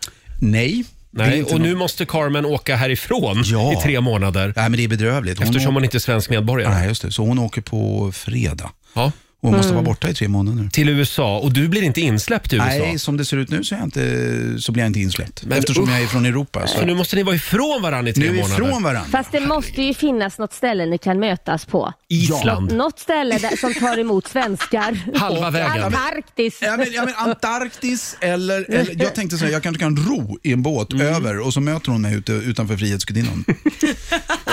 [SPEAKER 9] nej. det är
[SPEAKER 1] Nej,
[SPEAKER 9] inte
[SPEAKER 1] och nu
[SPEAKER 9] något-
[SPEAKER 1] måste Carmen åka härifrån
[SPEAKER 9] Ja.
[SPEAKER 1] i tre månader
[SPEAKER 9] Nej, men det är bedrövligt.
[SPEAKER 1] eftersom
[SPEAKER 9] åker,
[SPEAKER 1] hon inte är svensk medborgare.
[SPEAKER 9] Nej, just det. Så hon åker på fredag.
[SPEAKER 1] Ja.
[SPEAKER 9] Och Hon
[SPEAKER 1] Mm.
[SPEAKER 9] måste vara borta i tre månader nu.
[SPEAKER 1] Till USA och du blir inte insläppt i USA.
[SPEAKER 9] Nej, som det ser ut nu så, är jag inte, så blir jag inte insläppt.
[SPEAKER 1] Men
[SPEAKER 9] eftersom
[SPEAKER 1] usch.
[SPEAKER 9] jag är från Europa. Så
[SPEAKER 1] Så nu måste ni vara ifrån varandra i tre
[SPEAKER 9] nu är vi
[SPEAKER 1] månader.
[SPEAKER 9] ifrån varandra.
[SPEAKER 8] Fast det måste ju finnas något ställe ni kan mötas på.
[SPEAKER 1] Island.
[SPEAKER 8] Något ställe där, som tar emot svenskar.
[SPEAKER 1] Halva vägen.
[SPEAKER 8] Antarktis.
[SPEAKER 9] Ja, men, ja, men Antarktis eller, eller... Jag tänkte så här, jag kanske kan ro i en båt
[SPEAKER 1] Mm.
[SPEAKER 9] över och så möter hon mig ute, utanför Frihetsgudinnan.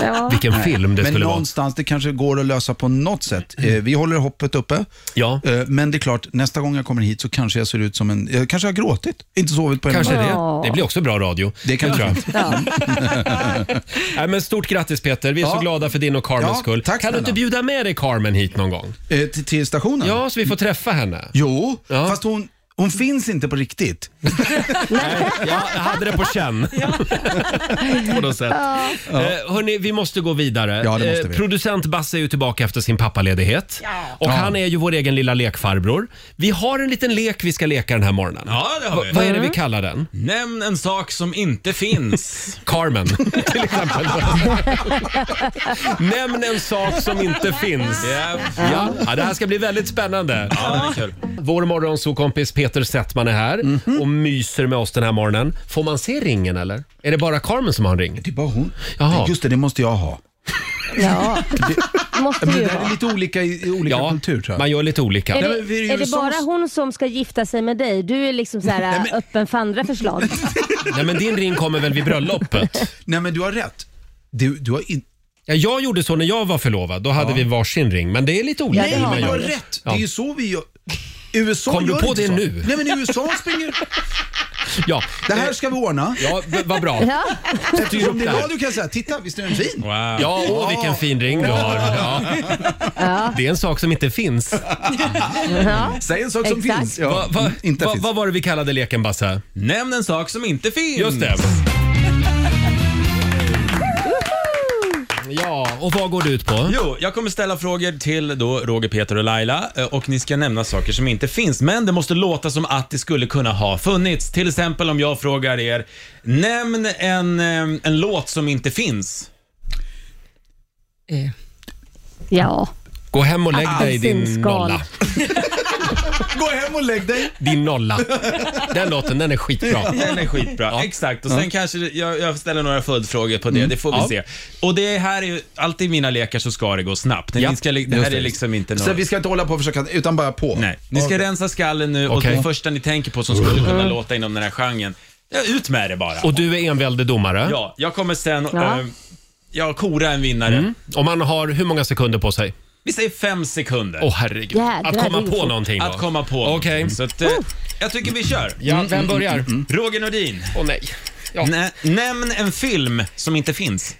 [SPEAKER 8] Ja.
[SPEAKER 1] Vilken film det
[SPEAKER 9] Men
[SPEAKER 1] skulle vara. Mm.
[SPEAKER 9] någonstans, det kanske går att lösa på något sätt. Eh, Vi håller hoppet uppe.
[SPEAKER 1] Ja.
[SPEAKER 9] Eh, Men det är klart, nästa gång jag kommer hit så kanske jag ser ut som en... Jag kanske har gråtit, inte sovit på en
[SPEAKER 1] Kanske
[SPEAKER 9] natt.
[SPEAKER 8] Ja.
[SPEAKER 1] det. Det blir också bra radio.
[SPEAKER 9] Det kan
[SPEAKER 1] tror
[SPEAKER 9] jag.
[SPEAKER 8] Ja.
[SPEAKER 1] Nej, men stort grattis Peter. Vi är så
[SPEAKER 9] Ja.
[SPEAKER 1] glada för din och Carmens
[SPEAKER 9] Ja,
[SPEAKER 1] skull.
[SPEAKER 9] tack
[SPEAKER 1] kan du
[SPEAKER 9] snälla.
[SPEAKER 1] inte bjuda med dig Carmen hit någon gång?
[SPEAKER 9] Eh, Till, till stationen?
[SPEAKER 1] Ja, så vi får träffa henne.
[SPEAKER 9] Jo,
[SPEAKER 1] Ja.
[SPEAKER 9] fast hon, hon finns inte på riktigt.
[SPEAKER 1] Ja, jag hade det på känn. på något sätt. Eh, hörni, vi måste gå vidare. Eh,
[SPEAKER 9] Ja, det måste vi.
[SPEAKER 1] producent Basse är ju tillbaka efter sin pappaledighet. Och han är ju vår egen lilla lekfarbror. Vi har en liten lek vi ska leka den här morgonen.
[SPEAKER 3] Ja, det har vi.
[SPEAKER 1] Vad är det
[SPEAKER 9] Mm.
[SPEAKER 1] vi kallar den?
[SPEAKER 3] Nämn en sak som inte finns.
[SPEAKER 1] Carmen, till exempel. Nämn en sak som inte finns.
[SPEAKER 3] Ja,
[SPEAKER 1] Ja, ja, det här ska bli väldigt spännande.
[SPEAKER 3] ja, det är kul.
[SPEAKER 1] Vår morgonsokompis Peter Settman är här
[SPEAKER 9] Mhm.
[SPEAKER 1] och myser med oss den här morgonen. Får man se ringen eller? Är det bara Carmen som har en ring?
[SPEAKER 9] Det är bara hon.
[SPEAKER 1] Jaha.
[SPEAKER 9] Just det, det måste jag ha.
[SPEAKER 8] Ja, det måste
[SPEAKER 9] Men
[SPEAKER 8] det
[SPEAKER 9] det
[SPEAKER 8] ju
[SPEAKER 9] där är
[SPEAKER 8] vara.
[SPEAKER 9] lite olika i i olika
[SPEAKER 1] Ja,
[SPEAKER 9] kultur tror jag.
[SPEAKER 1] man gör lite olika.
[SPEAKER 8] Är
[SPEAKER 9] Nej, men vi är ju
[SPEAKER 8] det, är det
[SPEAKER 9] som-
[SPEAKER 8] bara hon som ska gifta sig med dig? Du är liksom så här
[SPEAKER 9] men-
[SPEAKER 8] öppen för andra förslag.
[SPEAKER 1] Nej, men din ring kommer väl vid bröllopet?
[SPEAKER 9] Nej men du har rätt. Du, du har in...
[SPEAKER 1] Ja, jag gjorde så när jag var förlovad. Då hade vi varsin ring. Men det är lite olika
[SPEAKER 8] Ja, det
[SPEAKER 1] hur
[SPEAKER 8] har
[SPEAKER 1] man
[SPEAKER 9] Du har
[SPEAKER 1] gör.
[SPEAKER 9] rätt.
[SPEAKER 1] Ja.
[SPEAKER 9] Det är ju så vi gör. USA
[SPEAKER 1] Kom du
[SPEAKER 9] gör
[SPEAKER 1] på
[SPEAKER 9] inte
[SPEAKER 1] det
[SPEAKER 9] så.
[SPEAKER 1] nu?
[SPEAKER 9] Nej men i USA springer...
[SPEAKER 1] Ja,
[SPEAKER 9] Det här ska vi ordna.
[SPEAKER 1] ja v- vad bra.
[SPEAKER 8] Ja.
[SPEAKER 9] Eftersom det
[SPEAKER 1] det
[SPEAKER 9] är
[SPEAKER 1] här.
[SPEAKER 9] radio kan jag säga, titta visst är den fin?
[SPEAKER 3] Wow.
[SPEAKER 1] Ja, åh vilken fin ring du har. Ja. Det är en sak som inte finns.
[SPEAKER 8] Ja.
[SPEAKER 9] Säg en sak som
[SPEAKER 8] Exakt.
[SPEAKER 9] finns. Ja,
[SPEAKER 1] Va, va,
[SPEAKER 9] mm, inte
[SPEAKER 1] va,
[SPEAKER 9] finns. Mm.
[SPEAKER 1] vad var det vi kallade leken Basse?
[SPEAKER 3] Nämn en sak som inte finns.
[SPEAKER 1] Just det. Ja, och vad går det ut på?
[SPEAKER 3] Jo, jag kommer ställa frågor till då Roger, Peter och Laila eh, och ni ska nämna saker som inte finns, men det måste låta som att det skulle kunna ha funnits. Till exempel om jag frågar er, nämn en, eh, en låt som inte finns.
[SPEAKER 10] Eh,
[SPEAKER 8] ja.
[SPEAKER 1] Gå hem och lägg dig i din
[SPEAKER 8] Apelsinskal.
[SPEAKER 1] nolla.
[SPEAKER 9] Gå hem och lägg dig.
[SPEAKER 1] Din nolla. Den låten, den är skitbra.
[SPEAKER 3] Den är skitbra. Exakt. Och sen kanske det- jag, jag ställer några följdfrågor på det. Det får vi
[SPEAKER 1] Mm. Ja.
[SPEAKER 3] se. Och det här är ju, alltid i mina lekar så ska det gå snabbt.
[SPEAKER 1] Ja.
[SPEAKER 3] Ni ska, li- det
[SPEAKER 1] Just
[SPEAKER 3] här
[SPEAKER 1] det.
[SPEAKER 3] är liksom inte
[SPEAKER 9] Så
[SPEAKER 3] något...
[SPEAKER 9] vi ska inte hålla på och försöka, utan bara på.
[SPEAKER 3] Nej. Ni ska rensa skallen nu och
[SPEAKER 1] Okej.
[SPEAKER 3] det första ni tänker på som skulle kunna låta inom den här genren, ja, ut med det bara.
[SPEAKER 1] Och du är enväldig domare.
[SPEAKER 3] Ja, jag kommer sen
[SPEAKER 8] Ja.
[SPEAKER 3] ja. jag kora en vinnare.
[SPEAKER 1] Och Mm. man har hur många sekunder på sig?
[SPEAKER 3] Vi säger fem sekunder
[SPEAKER 1] Åh herregud.
[SPEAKER 8] Jädrar,
[SPEAKER 1] Att komma
[SPEAKER 8] det är
[SPEAKER 1] på
[SPEAKER 8] fort.
[SPEAKER 1] någonting då.
[SPEAKER 3] att komma på.
[SPEAKER 1] Okej.
[SPEAKER 3] Så att, eh, jag tycker vi kör. Mm,
[SPEAKER 1] Ja, vem börjar?
[SPEAKER 3] Roger Nordin,
[SPEAKER 1] Åh nej. Ja.
[SPEAKER 3] nä, nämn en film som inte finns.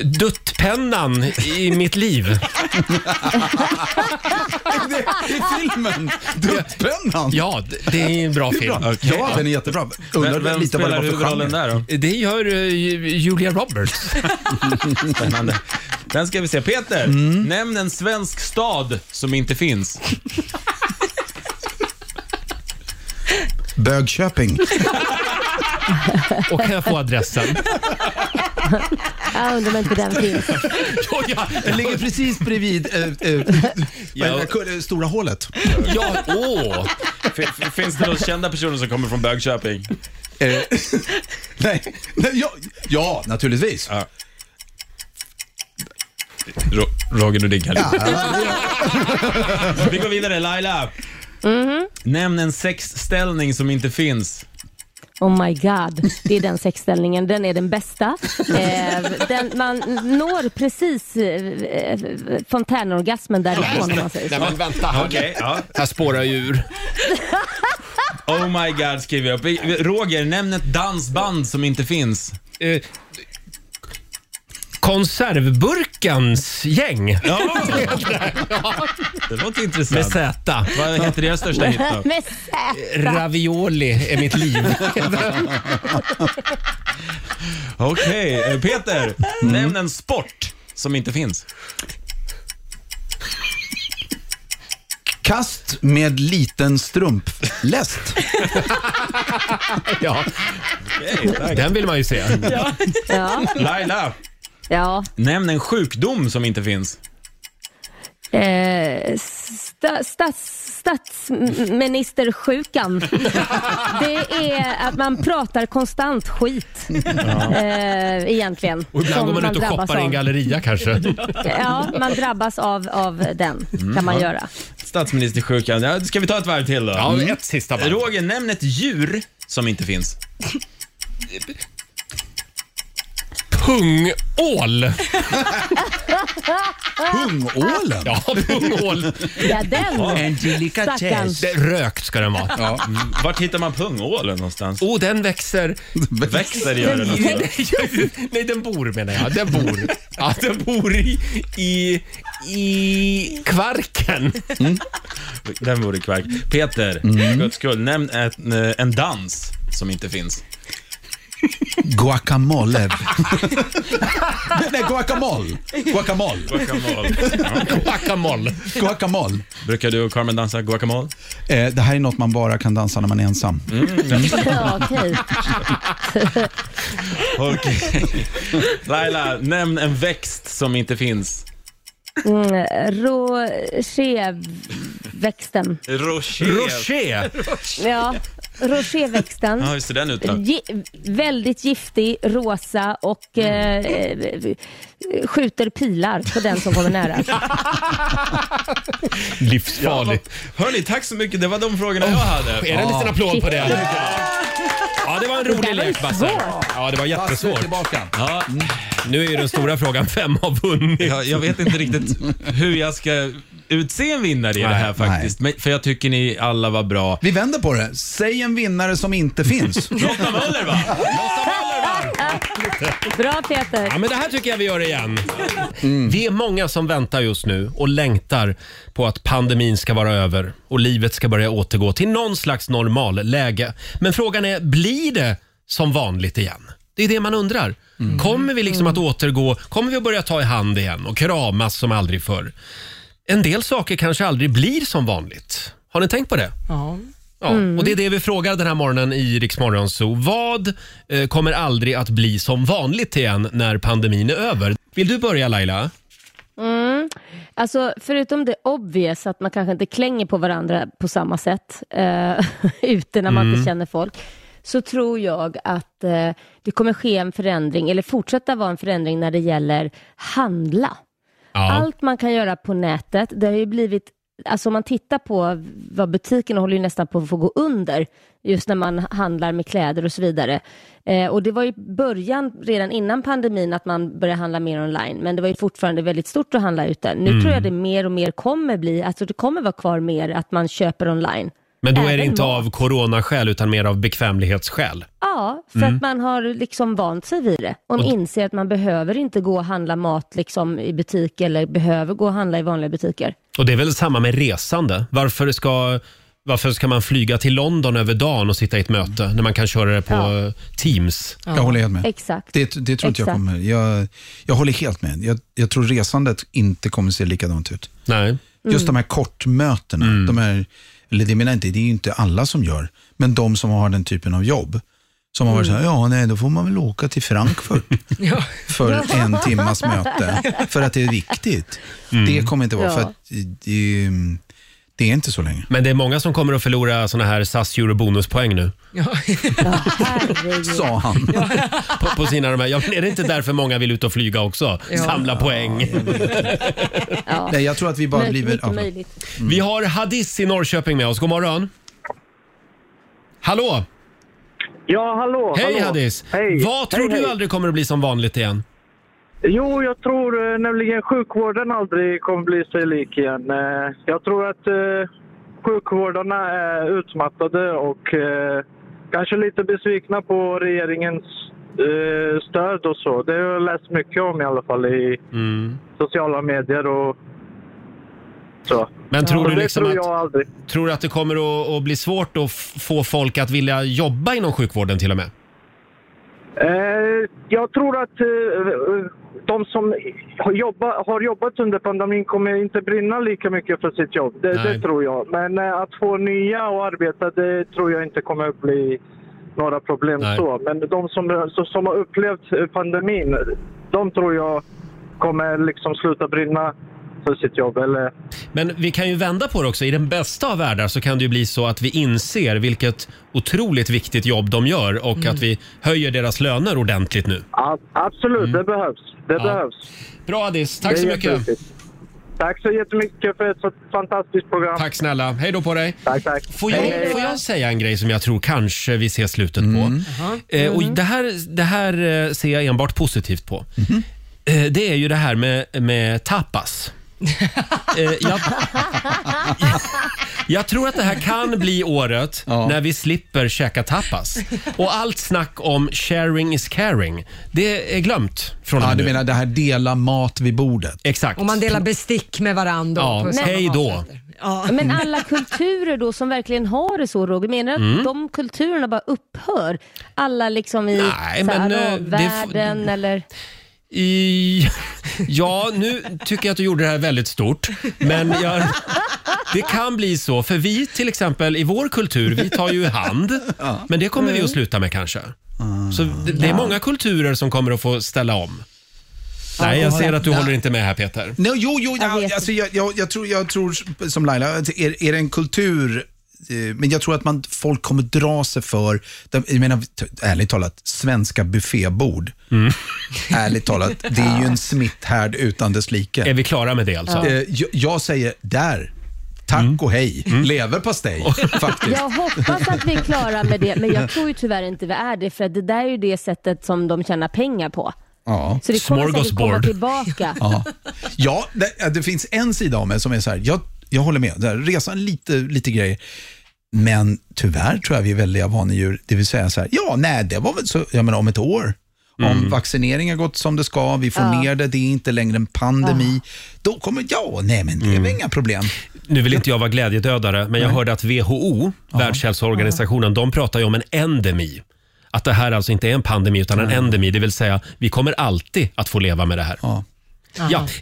[SPEAKER 1] Duttpennan i mitt liv.
[SPEAKER 9] I filmen, Duttpennan.
[SPEAKER 1] Ja, d- det är en bra film.
[SPEAKER 9] Ja, den är jättebra. Undrar
[SPEAKER 3] Vem, vem
[SPEAKER 9] lite
[SPEAKER 3] spelar
[SPEAKER 9] vad det var för genre.
[SPEAKER 3] huvudrollen där då?
[SPEAKER 1] Det gör eh, Ju- Julia Roberts.
[SPEAKER 3] Spännande. Den ska vi se. Peter,
[SPEAKER 1] Mm.
[SPEAKER 3] nämn en svensk stad som inte finns.
[SPEAKER 9] Bögköping.
[SPEAKER 1] Och kan jag få adressen?
[SPEAKER 8] Jag undrar om inte den finns.
[SPEAKER 1] Ja, ja,
[SPEAKER 9] Den ligger precis bredvid eh, eh, vad heter det? stora hålet.
[SPEAKER 1] ja, åh.
[SPEAKER 3] F- f- finns det några kända personer som kommer från Bögköping?
[SPEAKER 9] Eh, nej, nej ja, ja, naturligtvis.
[SPEAKER 3] Ro- Roger Nordin kan
[SPEAKER 9] Ja,
[SPEAKER 3] Vi går vidare. Laila,
[SPEAKER 8] Mhm.
[SPEAKER 3] nämn en sexställning som inte finns.
[SPEAKER 8] Oh my god. Det är den sexställningen. Den är den bästa. Eh, den, man når precis eh, eh, fontänorgasmen därifrån om man säger
[SPEAKER 1] Nej
[SPEAKER 8] så.
[SPEAKER 1] men vänta, här,
[SPEAKER 3] Okej, ja.
[SPEAKER 1] här spårar jag ur.
[SPEAKER 3] Oh my god skriver jag upp. Roger, nämn ett dansband som inte finns.
[SPEAKER 1] Eh, konservburkans gäng
[SPEAKER 3] Ja, det låter
[SPEAKER 1] med
[SPEAKER 3] intressant.
[SPEAKER 1] Z.
[SPEAKER 3] Vad heter deras största hit då?
[SPEAKER 8] Med sä-
[SPEAKER 1] Ravioli är mitt liv.
[SPEAKER 3] Okej, eh, Peter, nämn en sport som inte finns.
[SPEAKER 9] Kast med liten strumpläst.
[SPEAKER 1] Ja,
[SPEAKER 3] Okej, tack.
[SPEAKER 1] den vill man ju se.
[SPEAKER 8] Ja.
[SPEAKER 3] Laila,
[SPEAKER 8] ja.
[SPEAKER 3] nämn en sjukdom som inte finns.
[SPEAKER 8] Eh, sta, stats, statsministersjukan. Det är att man pratar konstant skit. Eh, egentligen.
[SPEAKER 1] Och ibland
[SPEAKER 8] Som
[SPEAKER 1] går man ut och
[SPEAKER 8] drabbas
[SPEAKER 1] shoppar i en
[SPEAKER 8] av.
[SPEAKER 1] galleria kanske.
[SPEAKER 8] Ja, man drabbas av, av den. kan
[SPEAKER 1] Mm.
[SPEAKER 8] man göra.
[SPEAKER 3] Statsministersjukan. Ja, ska vi ta ett varv till då? Mm.
[SPEAKER 1] Ja, ett sista band.
[SPEAKER 3] Roger, nämn ett djur som inte finns.
[SPEAKER 1] Pungål!
[SPEAKER 9] Pungålen.
[SPEAKER 1] Ja, pungål.
[SPEAKER 8] Ja, den
[SPEAKER 9] Angelica
[SPEAKER 8] stackarn.
[SPEAKER 1] Det, rökt ska den vara.
[SPEAKER 9] Ja.
[SPEAKER 3] Mm. Vart hittar man pungålen någonstans?
[SPEAKER 1] Oh, den växer.
[SPEAKER 3] Växer gör den också.
[SPEAKER 1] Nej, nej, den bor menar jag. Den bor. Ja, den bor i, i, i kvarken.
[SPEAKER 3] Mm. Den vore kvark. Peter,
[SPEAKER 1] Mm.
[SPEAKER 3] för guds skull, nämn ett, eh, en dans som inte finns.
[SPEAKER 9] Guacamole. Nej, guacamole. Guacamole.
[SPEAKER 3] Guacamole.
[SPEAKER 1] Guacamole.
[SPEAKER 9] Guacamole.
[SPEAKER 3] Brukar du och Carmen dansa guacamole?
[SPEAKER 9] Eh, det här är något man bara kan dansa när man är ensam.
[SPEAKER 3] Mm.
[SPEAKER 8] Ja, okej.
[SPEAKER 3] Okej. Laila, nämn en växt som inte finns.
[SPEAKER 8] Mm, Rocheväxten.
[SPEAKER 3] Rocher.
[SPEAKER 1] Rocher.
[SPEAKER 8] Ja, Roséväxten.
[SPEAKER 3] Ja, just det, den utan.
[SPEAKER 8] Gi- väldigt giftig, rosa och eh, eh, skjuter pilar på den som kommer nära.
[SPEAKER 1] Livsfarligt.
[SPEAKER 3] Hörni, tack så mycket. Det var de frågorna jag hade.
[SPEAKER 1] Är det en liten applåd på det? Ja, det var en rolig
[SPEAKER 3] var ju
[SPEAKER 1] lek Basse.
[SPEAKER 3] svårt.
[SPEAKER 1] Ja, det var jättesvårt.
[SPEAKER 3] Basse, tillbaka.
[SPEAKER 1] Ja. Nu är ju den stora frågan, vem har vunnit?
[SPEAKER 3] Jag, jag vet inte riktigt hur jag ska utse en vinnare i det här faktiskt. Men, för jag tycker ni alla var bra.
[SPEAKER 9] Vi vänder på det. Säg en vinnare som inte finns.
[SPEAKER 3] Lotta Möller va?
[SPEAKER 8] Bra Peter.
[SPEAKER 1] Ja, men det här tycker jag vi gör igen. Vi är många som väntar just nu och längtar på att pandemin ska vara över och livet ska börja återgå till någon slags normalläge. Men frågan är, blir det som vanligt igen? Det är det man undrar. Kommer vi liksom att återgå? Kommer vi att börja ta i hand igen och kramas som aldrig förr? En del saker kanske aldrig blir som vanligt. Har ni tänkt på det?
[SPEAKER 10] Ja.
[SPEAKER 1] Ja,
[SPEAKER 4] Mm.
[SPEAKER 1] och det är det vi frågar den här morgonen i Rix Morgon Zoo. Vad eh, kommer aldrig att bli som vanligt igen när pandemin är över? Vill du börja Laila?
[SPEAKER 8] Mm. Alltså, förutom det obvious att man kanske inte klänger på varandra på samma sätt eh, ute när man
[SPEAKER 11] Mm.
[SPEAKER 8] inte känner folk, så tror jag att eh, det kommer ske en förändring, eller fortsätta vara en förändring när det gäller handla.
[SPEAKER 11] Ja.
[SPEAKER 8] Allt man kan göra på nätet, det har ju blivit Alltså om man tittar på vad butikerna håller ju nästan på att få gå under just när man handlar med kläder och så vidare. Eh, och det var ju början redan innan pandemin att man började handla mer online men det var ju fortfarande väldigt stort att handla ute. Nu
[SPEAKER 1] Mm.
[SPEAKER 8] tror jag det mer och mer kommer bli, alltså det kommer vara kvar mer att man köper online.
[SPEAKER 1] Men då är
[SPEAKER 8] Även
[SPEAKER 1] det inte
[SPEAKER 8] mat.
[SPEAKER 1] av coronaskäl utan mer av bekvämlighetsskäl.
[SPEAKER 8] Ja, för
[SPEAKER 1] Mm.
[SPEAKER 8] att man har liksom vant sig vid det. Och,
[SPEAKER 1] Och-
[SPEAKER 8] inser att man behöver inte gå och handla mat liksom i butik eller behöver gå och handla i vanliga butiker.
[SPEAKER 1] Och det är väl samma med resande. Varför ska, varför ska man flyga till London över dagen och sitta i ett möte när man kan köra det på
[SPEAKER 8] Ja.
[SPEAKER 1] eh, Teams?
[SPEAKER 9] Jag håller helt med.
[SPEAKER 8] Exakt.
[SPEAKER 9] Det, det tror inte jag
[SPEAKER 8] Exakt.
[SPEAKER 9] kommer. Jag, jag håller helt med. Jag, jag tror resandet inte kommer se likadant ut.
[SPEAKER 1] Nej.
[SPEAKER 9] Just de här kortmötena, de här, eller det menar jag inte, det är ju inte alla som gör, men de som har den typen av jobb, som har varit så här, ja nej, då får man väl åka till Frankfurt för en timmas möte, för att det är viktigt.
[SPEAKER 1] Mm.
[SPEAKER 9] Det kommer inte vara,
[SPEAKER 1] Ja.
[SPEAKER 9] för att det, det är inte så länge.
[SPEAKER 1] Men det är många som kommer att förlora såna här SAS Euro-bonuspoäng nu.
[SPEAKER 9] Sa han.
[SPEAKER 1] på, på sina de här. Ja, men är det inte därför många vill ut och flyga också?
[SPEAKER 9] Ja.
[SPEAKER 1] Samla poäng.
[SPEAKER 9] Nej, jag tror att vi bara Mycket, blir- mycket ja. Mm.
[SPEAKER 8] möjligt.
[SPEAKER 1] Vi har Hadis i Norrköping med oss. God morgon. Hallå!
[SPEAKER 12] Ja, hallå.
[SPEAKER 1] Hej
[SPEAKER 12] hallå.
[SPEAKER 1] Hadis!
[SPEAKER 12] Hej.
[SPEAKER 1] Vad tror
[SPEAKER 12] Hej,
[SPEAKER 1] du
[SPEAKER 12] hej.
[SPEAKER 1] aldrig kommer att bli som vanligt igen?
[SPEAKER 12] Jo, jag tror eh, nämligen sjukvården aldrig kommer bli sig lik igen. Eh, Jag tror att eh, sjukvårdarna är utmattade och eh, kanske lite besvikna på regeringens eh, stöd och så. Det har jag läst mycket om i alla fall i
[SPEAKER 1] Mm.
[SPEAKER 12] sociala medier och så.
[SPEAKER 1] Men tror
[SPEAKER 12] så
[SPEAKER 1] du
[SPEAKER 12] det
[SPEAKER 1] liksom
[SPEAKER 12] tror
[SPEAKER 1] att-
[SPEAKER 12] jag aldrig.
[SPEAKER 1] Tror du att det kommer att, att bli svårt att f- få folk att vilja jobba inom sjukvården till och med?
[SPEAKER 12] Eh, jag tror att eh, de som har jobbat, har jobbat under pandemin kommer inte brinna lika mycket för sitt jobb. Det,
[SPEAKER 1] Nej.
[SPEAKER 12] det tror jag. Men eh, att få nya och arbeta, det tror jag inte kommer att bli några problem
[SPEAKER 1] Nej.
[SPEAKER 12] så. Men de som, som- som har upplevt eh, pandemin, de tror jag kommer liksom sluta brinna för sitt jobb. Eller,
[SPEAKER 1] Men vi kan ju vända på det också. I den bästa av världar så kan det ju bli så att vi inser vilket otroligt viktigt jobb de gör och att vi höjer deras löner ordentligt nu.
[SPEAKER 12] a- absolut, det behövs. Det
[SPEAKER 1] Mm. Ja.
[SPEAKER 12] behövs.
[SPEAKER 1] Bra Adis, tack
[SPEAKER 12] Det är
[SPEAKER 1] så mycket.
[SPEAKER 12] jätteviktigt. Tack så jättemycket för ett så fantastiskt program.
[SPEAKER 1] Tack snälla. Hej då på dig.
[SPEAKER 12] Tack, tack.
[SPEAKER 1] Får jag, får jag säga en grej som jag tror kanske vi ser slutet
[SPEAKER 9] Mm.
[SPEAKER 1] på? Eh,
[SPEAKER 10] Mm.
[SPEAKER 1] och det, här, det här eh, ser jag enbart positivt på.
[SPEAKER 9] Mm-hmm.
[SPEAKER 1] Eh, det är ju det här med, med tapas. eh, jag, jag tror att det här kan bli året när vi slipper käka tapas. Och allt snack om sharing is caring, det är glömt från och
[SPEAKER 9] Ja,
[SPEAKER 1] med
[SPEAKER 9] du
[SPEAKER 1] nu.
[SPEAKER 9] menar det här dela mat vid bordet?
[SPEAKER 1] Exakt.
[SPEAKER 10] Om man delar bestick med varandra.
[SPEAKER 1] Ja,
[SPEAKER 10] på samma
[SPEAKER 1] hej då.
[SPEAKER 10] maträtter. Ja.
[SPEAKER 8] Men alla kulturer då som verkligen har det så Roger, menar du
[SPEAKER 1] Mm.
[SPEAKER 8] att de kulturerna bara upphör? Alla liksom i Nej,
[SPEAKER 1] men, eh, det får-
[SPEAKER 8] arabvärlden eller?
[SPEAKER 1] I... Ja, nu tycker jag att du gjorde det här väldigt stort. Men jag... det kan bli så, för vi till exempel i vår kultur, vi tar ju hand. Men det kommer vi att sluta med kanske. Så det, det är
[SPEAKER 9] Ja.
[SPEAKER 1] många kulturer som kommer att få ställa om. Nej, jag ser att du håller inte med här Peter.
[SPEAKER 9] Nej, jo, jo, jag, alltså, jag, jag, jag, tror, jag tror som Laila, att är, är det en kultur eh, men jag tror att man, folk kommer dra sig för, de- jag menar, t- ärligt talat, svenska buffébord.
[SPEAKER 1] Mm.
[SPEAKER 9] Ärligt talat, det är ju en smitthärd utan dess like.
[SPEAKER 1] Är vi klara med det alltså? Mm.
[SPEAKER 9] Eh, Jag, jag säger där, tack och hej, leverpastej faktiskt.
[SPEAKER 8] Jag hoppas att vi är klara med det, men jag tror ju tyvärr inte vi är det, för att det där är ju det sättet som de tjänar pengar på.
[SPEAKER 9] Ja.
[SPEAKER 8] Så det kommer säkert komma tillbaka.
[SPEAKER 9] Ja, ja det, det finns en sida av mig som är så här, jag, jag håller med, där, resan lite, lite grejer. Men tyvärr tror jag vi är väldiga vanedjur, det vill säga så här, ja, nej, det var väl så, jag menar om ett år,
[SPEAKER 8] Mm.
[SPEAKER 9] om vaccineringen har gått som det ska, vi får
[SPEAKER 8] Ja.
[SPEAKER 9] ner det, det är inte längre en pandemi, då kommer, ja, nej, men det är väl
[SPEAKER 8] Mm.
[SPEAKER 9] inga problem.
[SPEAKER 1] Nu vill inte jag vara glädjedödare, men jag
[SPEAKER 9] Nej.
[SPEAKER 1] hörde att WHO, Världshälsoorganisationen, de pratar ju om en endemi. Att det här alltså inte är en pandemi utan en endemi, det vill säga vi kommer alltid att få leva med det här. Ja,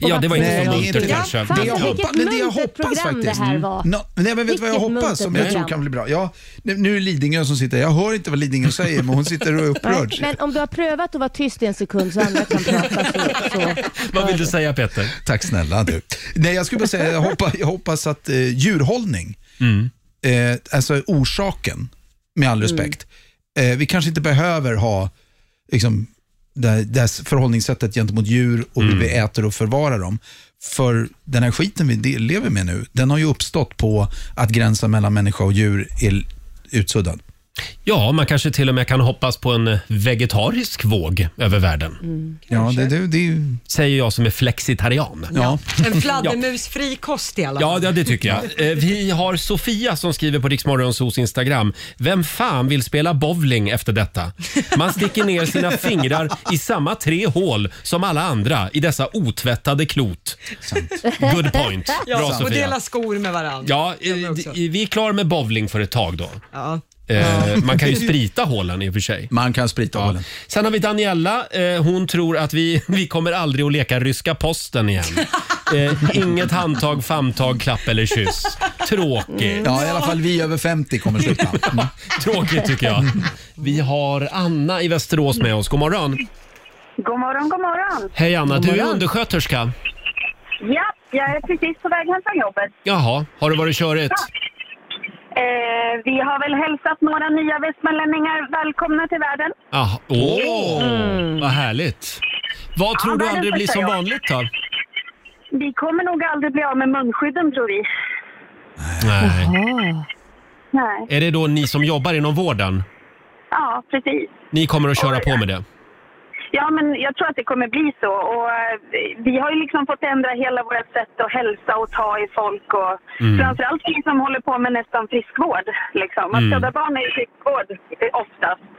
[SPEAKER 1] ja, det var inte så muntert kanske.
[SPEAKER 9] Eh, Det jag hoppas, men det jag
[SPEAKER 8] muntert
[SPEAKER 9] hoppas
[SPEAKER 8] program det
[SPEAKER 9] faktiskt.
[SPEAKER 8] här var.
[SPEAKER 9] Mm. Nå- nej, men vet du vad jag
[SPEAKER 8] Vilket
[SPEAKER 9] hoppas som
[SPEAKER 8] muntert
[SPEAKER 9] jag tror
[SPEAKER 8] program.
[SPEAKER 9] kan bli bra? Ja, nu nu är det Lidingö som sitter Jag hör inte vad Lidingö säger, men hon sitter och är upprörd.
[SPEAKER 8] Men om du har prövat att vara tyst i en sekund så andra kan prata så, så
[SPEAKER 1] Vad vill du säga Peter?
[SPEAKER 9] Tack snälla du. Nej, jag skulle bara säga, jag hoppas, jag hoppas att eh, djurhållning,
[SPEAKER 1] Mm.
[SPEAKER 9] eh, alltså orsaken, med all respekt, eh, vi kanske inte behöver ha liksom, det, det här förhållningssättet gentemot djur och hur
[SPEAKER 1] Mm.
[SPEAKER 9] vi äter och förvarar dem. För den här skiten vi de- lever med nu, den har ju uppstått på att gränsen mellan människa och djur är l- utsuddad.
[SPEAKER 1] Ja, man kanske till och med kan hoppas på en vegetarisk våg över världen.
[SPEAKER 8] Mm.
[SPEAKER 9] Ja, det, det, det är ju...
[SPEAKER 1] Säger jag som är flexitarian.
[SPEAKER 9] Ja.
[SPEAKER 10] En fladdermusfri kost i alla fall.
[SPEAKER 1] Ja, ja, det tycker jag. Eh, Vi har Sofia som skriver på Riksmorgonsos Instagram. Vem fan vill spela bowling efter detta? Man sticker ner sina fingrar i samma tre hål som alla andra i dessa otvättade klot. Good point.
[SPEAKER 10] Ja,
[SPEAKER 1] Bra
[SPEAKER 10] och
[SPEAKER 1] Sofia.
[SPEAKER 10] dela skor med varandra.
[SPEAKER 1] Ja, eh, d- vi är klar med bowling för ett tag då.
[SPEAKER 10] Ja.
[SPEAKER 1] Eh, Man kan ju sprita hålen i och för sig.
[SPEAKER 9] Man kan sprita hålen.
[SPEAKER 1] Sen har vi Daniela. Eh, hon tror att vi, vi kommer aldrig att leka ryska posten igen. Eh, inget handtag, famntag, klapp eller kyss. Tråkigt.
[SPEAKER 9] Ja, i alla fall vi över 50 kommer sluta. Mm.
[SPEAKER 1] Tråkigt tycker jag. Vi har Anna i Västerås med oss. God morgon.
[SPEAKER 11] God morgon, god morgon.
[SPEAKER 1] Hej Anna,
[SPEAKER 11] God
[SPEAKER 1] du är
[SPEAKER 11] morgon.
[SPEAKER 1] undersköterska.
[SPEAKER 11] Ja, jag är precis på väg hem från jobbet.
[SPEAKER 1] Jaha, har det varit körigt?
[SPEAKER 11] Eh, vi har väl hälsat några nya västmanlänningar välkomna till världen.
[SPEAKER 1] Jaha. Ah, Åh,
[SPEAKER 11] Mm.
[SPEAKER 1] vad härligt. Vad
[SPEAKER 11] Ja,
[SPEAKER 1] tror du
[SPEAKER 11] världen
[SPEAKER 1] aldrig blir
[SPEAKER 11] första
[SPEAKER 1] som
[SPEAKER 11] jag.
[SPEAKER 1] vanligt då?
[SPEAKER 11] Vi kommer nog aldrig bli av med munskydden tror vi.
[SPEAKER 1] Nej.
[SPEAKER 11] Nej.
[SPEAKER 1] Är det då ni som jobbar inom vården?
[SPEAKER 11] Ja, precis.
[SPEAKER 1] Ni kommer att köra på med det?
[SPEAKER 11] Ja, men jag tror att det kommer bli så. Och, eh, vi har ju liksom fått ändra hela vårt sätt att hälsa och ta i folk. Och,
[SPEAKER 1] Mm.
[SPEAKER 11] Framförallt vi som håller på med nästan friskvård. Liksom. Man
[SPEAKER 13] Mm.
[SPEAKER 11] föda barn är ju friskvård eh, oftast.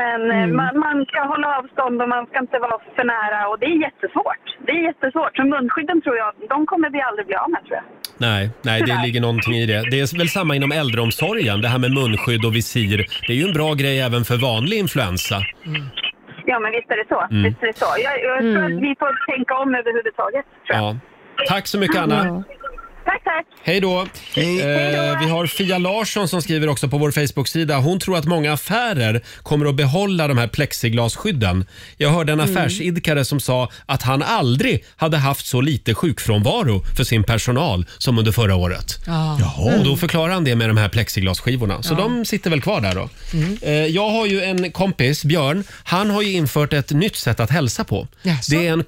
[SPEAKER 11] Men eh,
[SPEAKER 1] Mm.
[SPEAKER 11] man, man ska hålla avstånd och man ska inte vara för nära. Och det är jättesvårt. Det är jättesvårt. Så munskydden tror jag, de kommer vi aldrig bli av med tror jag.
[SPEAKER 1] Nej, nej, det ligger någonting i det. Det är väl samma inom äldreomsorgen, det här med munskydd och visir. Det är ju en bra grej även för vanlig influensa.
[SPEAKER 11] Ja, men visst är det så.
[SPEAKER 1] Mm.
[SPEAKER 11] Visst är det så. Jag, jag tror att vi får tänka om överhuvudtaget.
[SPEAKER 1] Ja. Tack så mycket Anna.
[SPEAKER 11] Mm. Tack, tack.
[SPEAKER 1] Hej då! Eh, vi har Fia Larsson som skriver också på vår Facebook-sida. Hon tror att många affärer kommer att behålla de här plexiglasskydden. Jag hörde en
[SPEAKER 14] Mm.
[SPEAKER 1] affärsidkare som sa att han aldrig hade haft så lite sjukfrånvaro för sin personal som under förra året.
[SPEAKER 10] Ja.
[SPEAKER 1] Och
[SPEAKER 4] Mm.
[SPEAKER 1] då förklarar han det med de här plexiglasskivorna. Så
[SPEAKER 10] Ja.
[SPEAKER 1] de sitter väl kvar där då. Eh, Jag har ju en kompis, Björn, han har ju infört ett nytt sätt att hälsa på.
[SPEAKER 10] Jaså?
[SPEAKER 1] Det är en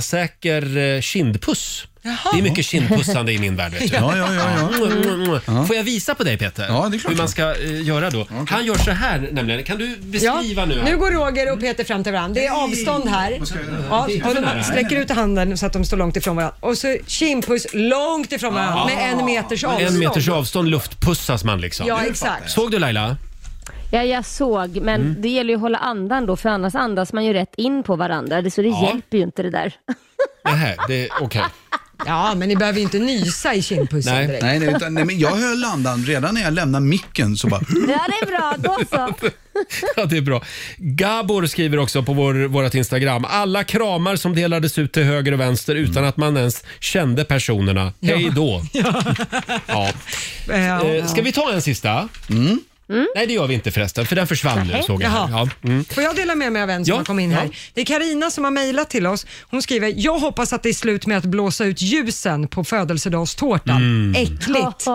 [SPEAKER 1] coronasäker eh, kindpuss. Det är mycket kindpussande i min värld. Vet du.
[SPEAKER 9] Ja, ja, ja, ja.
[SPEAKER 1] Mm, mm, mm. Får jag visa på dig Peter? Ja, det är klart. Hur man ska eh, göra då. Han gör så här nämligen. Kan du beskriva nu? här?
[SPEAKER 10] Nu går Roger och Peter fram till varandra. Det är
[SPEAKER 4] Mm.
[SPEAKER 10] avstånd här. Ja,
[SPEAKER 1] Det är
[SPEAKER 10] och
[SPEAKER 1] så nära.
[SPEAKER 10] de sträcker ut handen så att de står långt ifrån varandra. Och så kindpuss långt ifrån varandra med en meters avstånd.
[SPEAKER 1] En meters avstånd luftpussas man liksom.
[SPEAKER 10] Ja, exakt.
[SPEAKER 1] Såg du Laila?
[SPEAKER 8] Ja, jag såg, men
[SPEAKER 1] Mm.
[SPEAKER 8] det gäller ju att hålla andan då, för annars andas man ju rätt in på varandra, det- så det
[SPEAKER 1] Ja.
[SPEAKER 8] hjälper ju inte det där.
[SPEAKER 1] Nej, det är okej.
[SPEAKER 10] Ja, men ni behöver ju inte nysa i kindpussen
[SPEAKER 9] Nej,
[SPEAKER 10] direkt.
[SPEAKER 9] nej, nej, utan, nej men jag höll andan redan när jag lämnade micken så bara...
[SPEAKER 8] Ja, det är bra. Då så.
[SPEAKER 1] Ja, det är bra. Gabor skriver också på vår, vårt Instagram. Alla kramar som delades ut till höger och vänster utan att man ens kände personerna. Hej då. Ja. Eh, Ska vi ta en sista? Nej, det gör vi inte förresten, för den försvann nu
[SPEAKER 2] Nej.
[SPEAKER 1] såg jag. här.
[SPEAKER 2] Jaha.
[SPEAKER 1] Ja. Mm.
[SPEAKER 2] Får jag dela med mig av en som
[SPEAKER 1] Ja,
[SPEAKER 2] har kommit in här?
[SPEAKER 1] ja.
[SPEAKER 2] Det är Karina som har mejlat till oss. Hon skriver, jag hoppas att det är slut med att blåsa ut ljusen på födelsedagstårtan.
[SPEAKER 1] Mm.
[SPEAKER 2] Äckligt.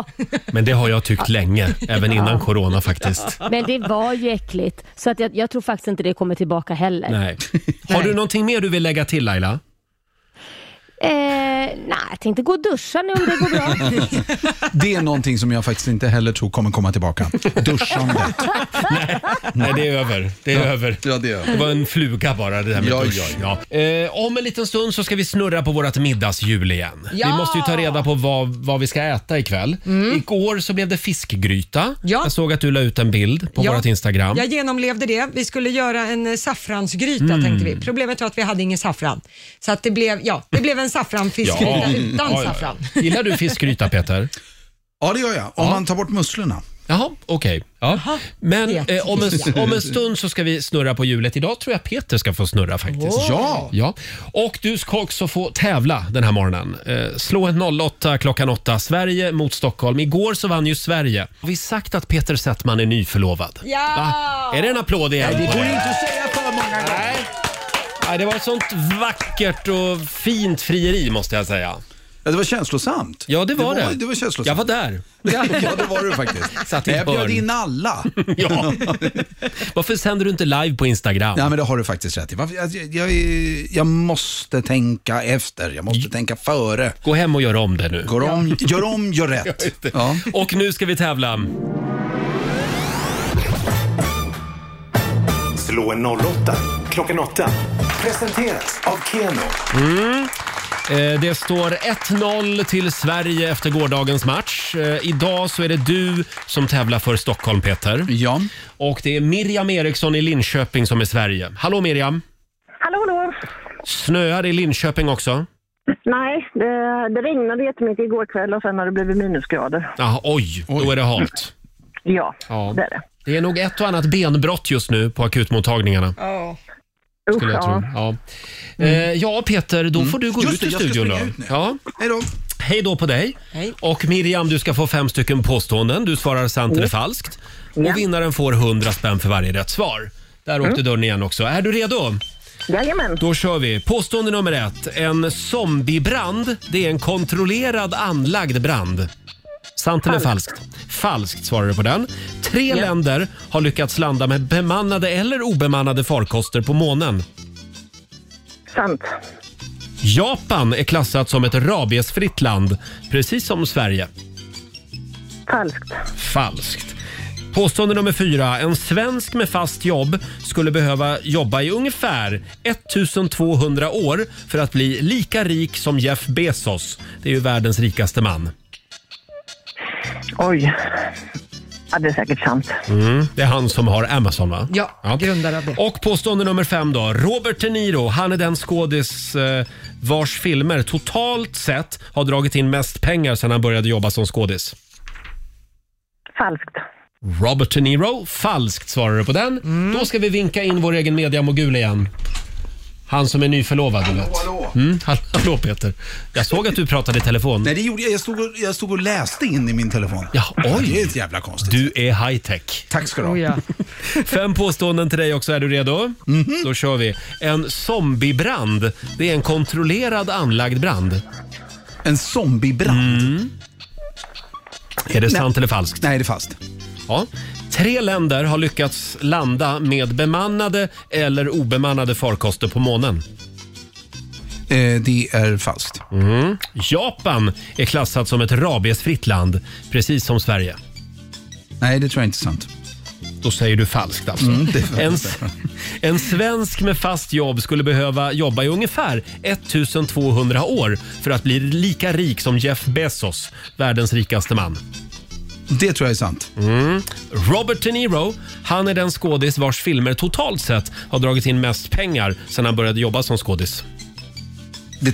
[SPEAKER 1] Men det har jag tyckt länge, även innan
[SPEAKER 8] Ja.
[SPEAKER 1] corona faktiskt.
[SPEAKER 8] Men det var ju äckligt. Så att jag, jag tror faktiskt inte det kommer tillbaka heller.
[SPEAKER 1] Nej. Har du någonting mer du vill lägga till Laila?
[SPEAKER 8] Eh, nej, jag tänkte gå och duscha nu om det går bra.
[SPEAKER 9] Det är någonting som jag faktiskt inte heller tror kommer komma tillbaka. Duschande.
[SPEAKER 1] Nej, det är över. Det är
[SPEAKER 9] Ja.
[SPEAKER 1] över.
[SPEAKER 9] Ja, det, är.
[SPEAKER 1] Det var en fluga bara det där med
[SPEAKER 9] Ja,
[SPEAKER 1] dusch. Ja. Eh, om en liten stund så ska vi snurra på vårt middagshjul igen.
[SPEAKER 2] Ja! Mm.
[SPEAKER 1] Vi måste ju ta reda på vad, vad vi ska äta ikväll. Igår så blev det fiskgryta. Jag såg att du la ut en bild på
[SPEAKER 2] Ja.
[SPEAKER 1] vårt Instagram.
[SPEAKER 2] Jag genomlevde det. Vi skulle göra en eh, saffransgryta
[SPEAKER 1] Mm.
[SPEAKER 2] tänkte vi. Problemet var att vi hade ingen saffran. Så att det blev, ja, det blev en saffranfiskgryta utan
[SPEAKER 1] Ja, ja.
[SPEAKER 2] saffran.
[SPEAKER 1] Gillar du fiskgryta Peter?
[SPEAKER 9] Ja, det gör jag. Om man tar bort musslorna.
[SPEAKER 1] Jaha, okej. Ja. Men eh, om, en, om en stund så ska vi snurra på hjulet. Idag tror jag Peter ska få snurra faktiskt.
[SPEAKER 9] Wow. Ja.
[SPEAKER 1] ja! Och du ska också få tävla den här morgonen. Eh, slå en 08 klockan 8. Sverige mot Stockholm. Igår så vann ju Sverige. Har vi sagt att Peter Settman är nyförlovad?
[SPEAKER 2] Ja!
[SPEAKER 1] Va? Är det en applåd igen?
[SPEAKER 9] Nej, det
[SPEAKER 1] på
[SPEAKER 9] går inte att säga för många gånger.
[SPEAKER 1] Nej, det var ett sånt vackert och fint frieri måste jag säga.
[SPEAKER 9] Ja, det var känslosamt.
[SPEAKER 1] Ja, det var det.
[SPEAKER 9] Det var känslosamt.
[SPEAKER 1] Jag var där.
[SPEAKER 9] Ja, det var du faktiskt.
[SPEAKER 1] Satt i ett
[SPEAKER 9] jag bjöd
[SPEAKER 1] hörn.
[SPEAKER 9] in alla.
[SPEAKER 1] Ja. Varför sänder du inte live på Instagram?
[SPEAKER 9] Nej, men det har du faktiskt rätt i. Varför- Jag, jag, jag måste tänka efter. Jag måste tänka före.
[SPEAKER 1] Gå hem och gör om det nu.
[SPEAKER 9] Går om, Gör om, gör
[SPEAKER 1] Ja,
[SPEAKER 9] rätt.
[SPEAKER 1] just det. Och nu ska vi tävla.
[SPEAKER 4] Slå en 08 klockan 8. Presenteras av Keno.
[SPEAKER 1] Mm. Eh, Det står 1-0 till Sverige efter gårdagens match. Eh, Idag så är det du som tävlar för Stockholm, Peter.
[SPEAKER 9] Ja.
[SPEAKER 1] Och det är Miriam Eriksson i Linköping som är Sverige. Hallå Miriam!
[SPEAKER 13] Hallå, hallå!
[SPEAKER 1] Snöar i Linköping också?
[SPEAKER 13] Nej, det, det regnade jättemycket igår kväll och sen har det blivit minusgrader.
[SPEAKER 1] Jaha, Ah, oj, då är det halt.
[SPEAKER 13] Ja,
[SPEAKER 1] Ja.
[SPEAKER 13] det är det.
[SPEAKER 1] Det är nog ett och annat benbrott just nu på akutmottagningarna.
[SPEAKER 13] Ja.
[SPEAKER 1] Skulle jag tro. Ja.
[SPEAKER 3] Mm.
[SPEAKER 1] Eh, ja, Peter, då får du gå
[SPEAKER 9] Just
[SPEAKER 1] ut
[SPEAKER 9] det,
[SPEAKER 1] ur
[SPEAKER 9] jag ska
[SPEAKER 1] studion då.
[SPEAKER 9] springa ut nu.
[SPEAKER 1] Ja.
[SPEAKER 9] Hej då.
[SPEAKER 1] Hej då på dig. Och Miriam, du ska få fem stycken påståenden. Du svarar sant eller falskt. Och vinnaren får 100 spänn för varje rätt svar. Där åkte dörren igen också. Är du redo?
[SPEAKER 13] Jajamän.
[SPEAKER 1] Då kör vi. Påstående nummer ett. En zombiebrand, det är en kontrollerad anlagd brand. Sant eller falskt? Falskt svarar du på den. Tre länder har lyckats landa med bemannade eller obemannade farkoster på månen.
[SPEAKER 13] Sant.
[SPEAKER 1] Japan är klassat som ett rabiesfritt land, precis som Sverige.
[SPEAKER 13] Falskt.
[SPEAKER 1] Falskt. Påstående nummer fyra. En svensk med fast jobb skulle behöva jobba i ungefär 1200 år för att bli lika rik som Jeff Bezos. Det är ju världens rikaste man.
[SPEAKER 13] Oj. Ja, det är säkert sant.
[SPEAKER 1] Mm, det är han som har Amazon va? Ja,
[SPEAKER 2] grundare av det.
[SPEAKER 1] Och påstående nummer fem då. Robert De Niro, han är den skådis eh, vars filmer totalt sett har dragit in mest pengar sedan han började jobba som skådis.
[SPEAKER 13] Falskt.
[SPEAKER 1] Robert De Niro. Falskt svarar du på den.
[SPEAKER 9] Mm.
[SPEAKER 1] Då ska vi vinka in vår egen mediamogul igen. Han som är nyförlovad, du vet. Hallå, mm, hall- hallå Peter. Jag såg att du pratade i telefon.
[SPEAKER 9] Nej, det gjorde jag. Jag stod, och, jag stod och läste in i min telefon.
[SPEAKER 1] Ja, oj.
[SPEAKER 9] Det är ett jävla konstigt.
[SPEAKER 1] Du är high tech.
[SPEAKER 9] Tack ska du ha.
[SPEAKER 1] Fem påståenden till dig också. Är du redo?
[SPEAKER 9] Mhm.
[SPEAKER 1] Då kör vi. En zombiebrand, det är en kontrollerad anlagd brand.
[SPEAKER 9] En zombiebrand?
[SPEAKER 1] Mm. Är det
[SPEAKER 9] Nej.
[SPEAKER 1] sant eller falskt?
[SPEAKER 9] Nej, det är falskt.
[SPEAKER 1] Ja. Tre länder har lyckats landa med bemannade eller obemannade farkoster på månen.
[SPEAKER 9] Eh, det är falskt.
[SPEAKER 1] Mm. Japan är klassat som ett rabiesfritt land, precis som Sverige.
[SPEAKER 9] Nej, det tror jag inte är sant.
[SPEAKER 1] Då säger du falskt alltså.
[SPEAKER 9] Mm, det är falskt.
[SPEAKER 1] en, s- en svensk med fast jobb skulle behöva jobba i ungefär 1200 år för att bli lika rik som Jeff Bezos, världens rikaste man.
[SPEAKER 9] Det tror jag är sant.
[SPEAKER 1] Mm. Robert De Niro, han är den skådis vars filmer totalt sett har dragit in mest pengar sedan han började jobba som skådis.
[SPEAKER 9] Det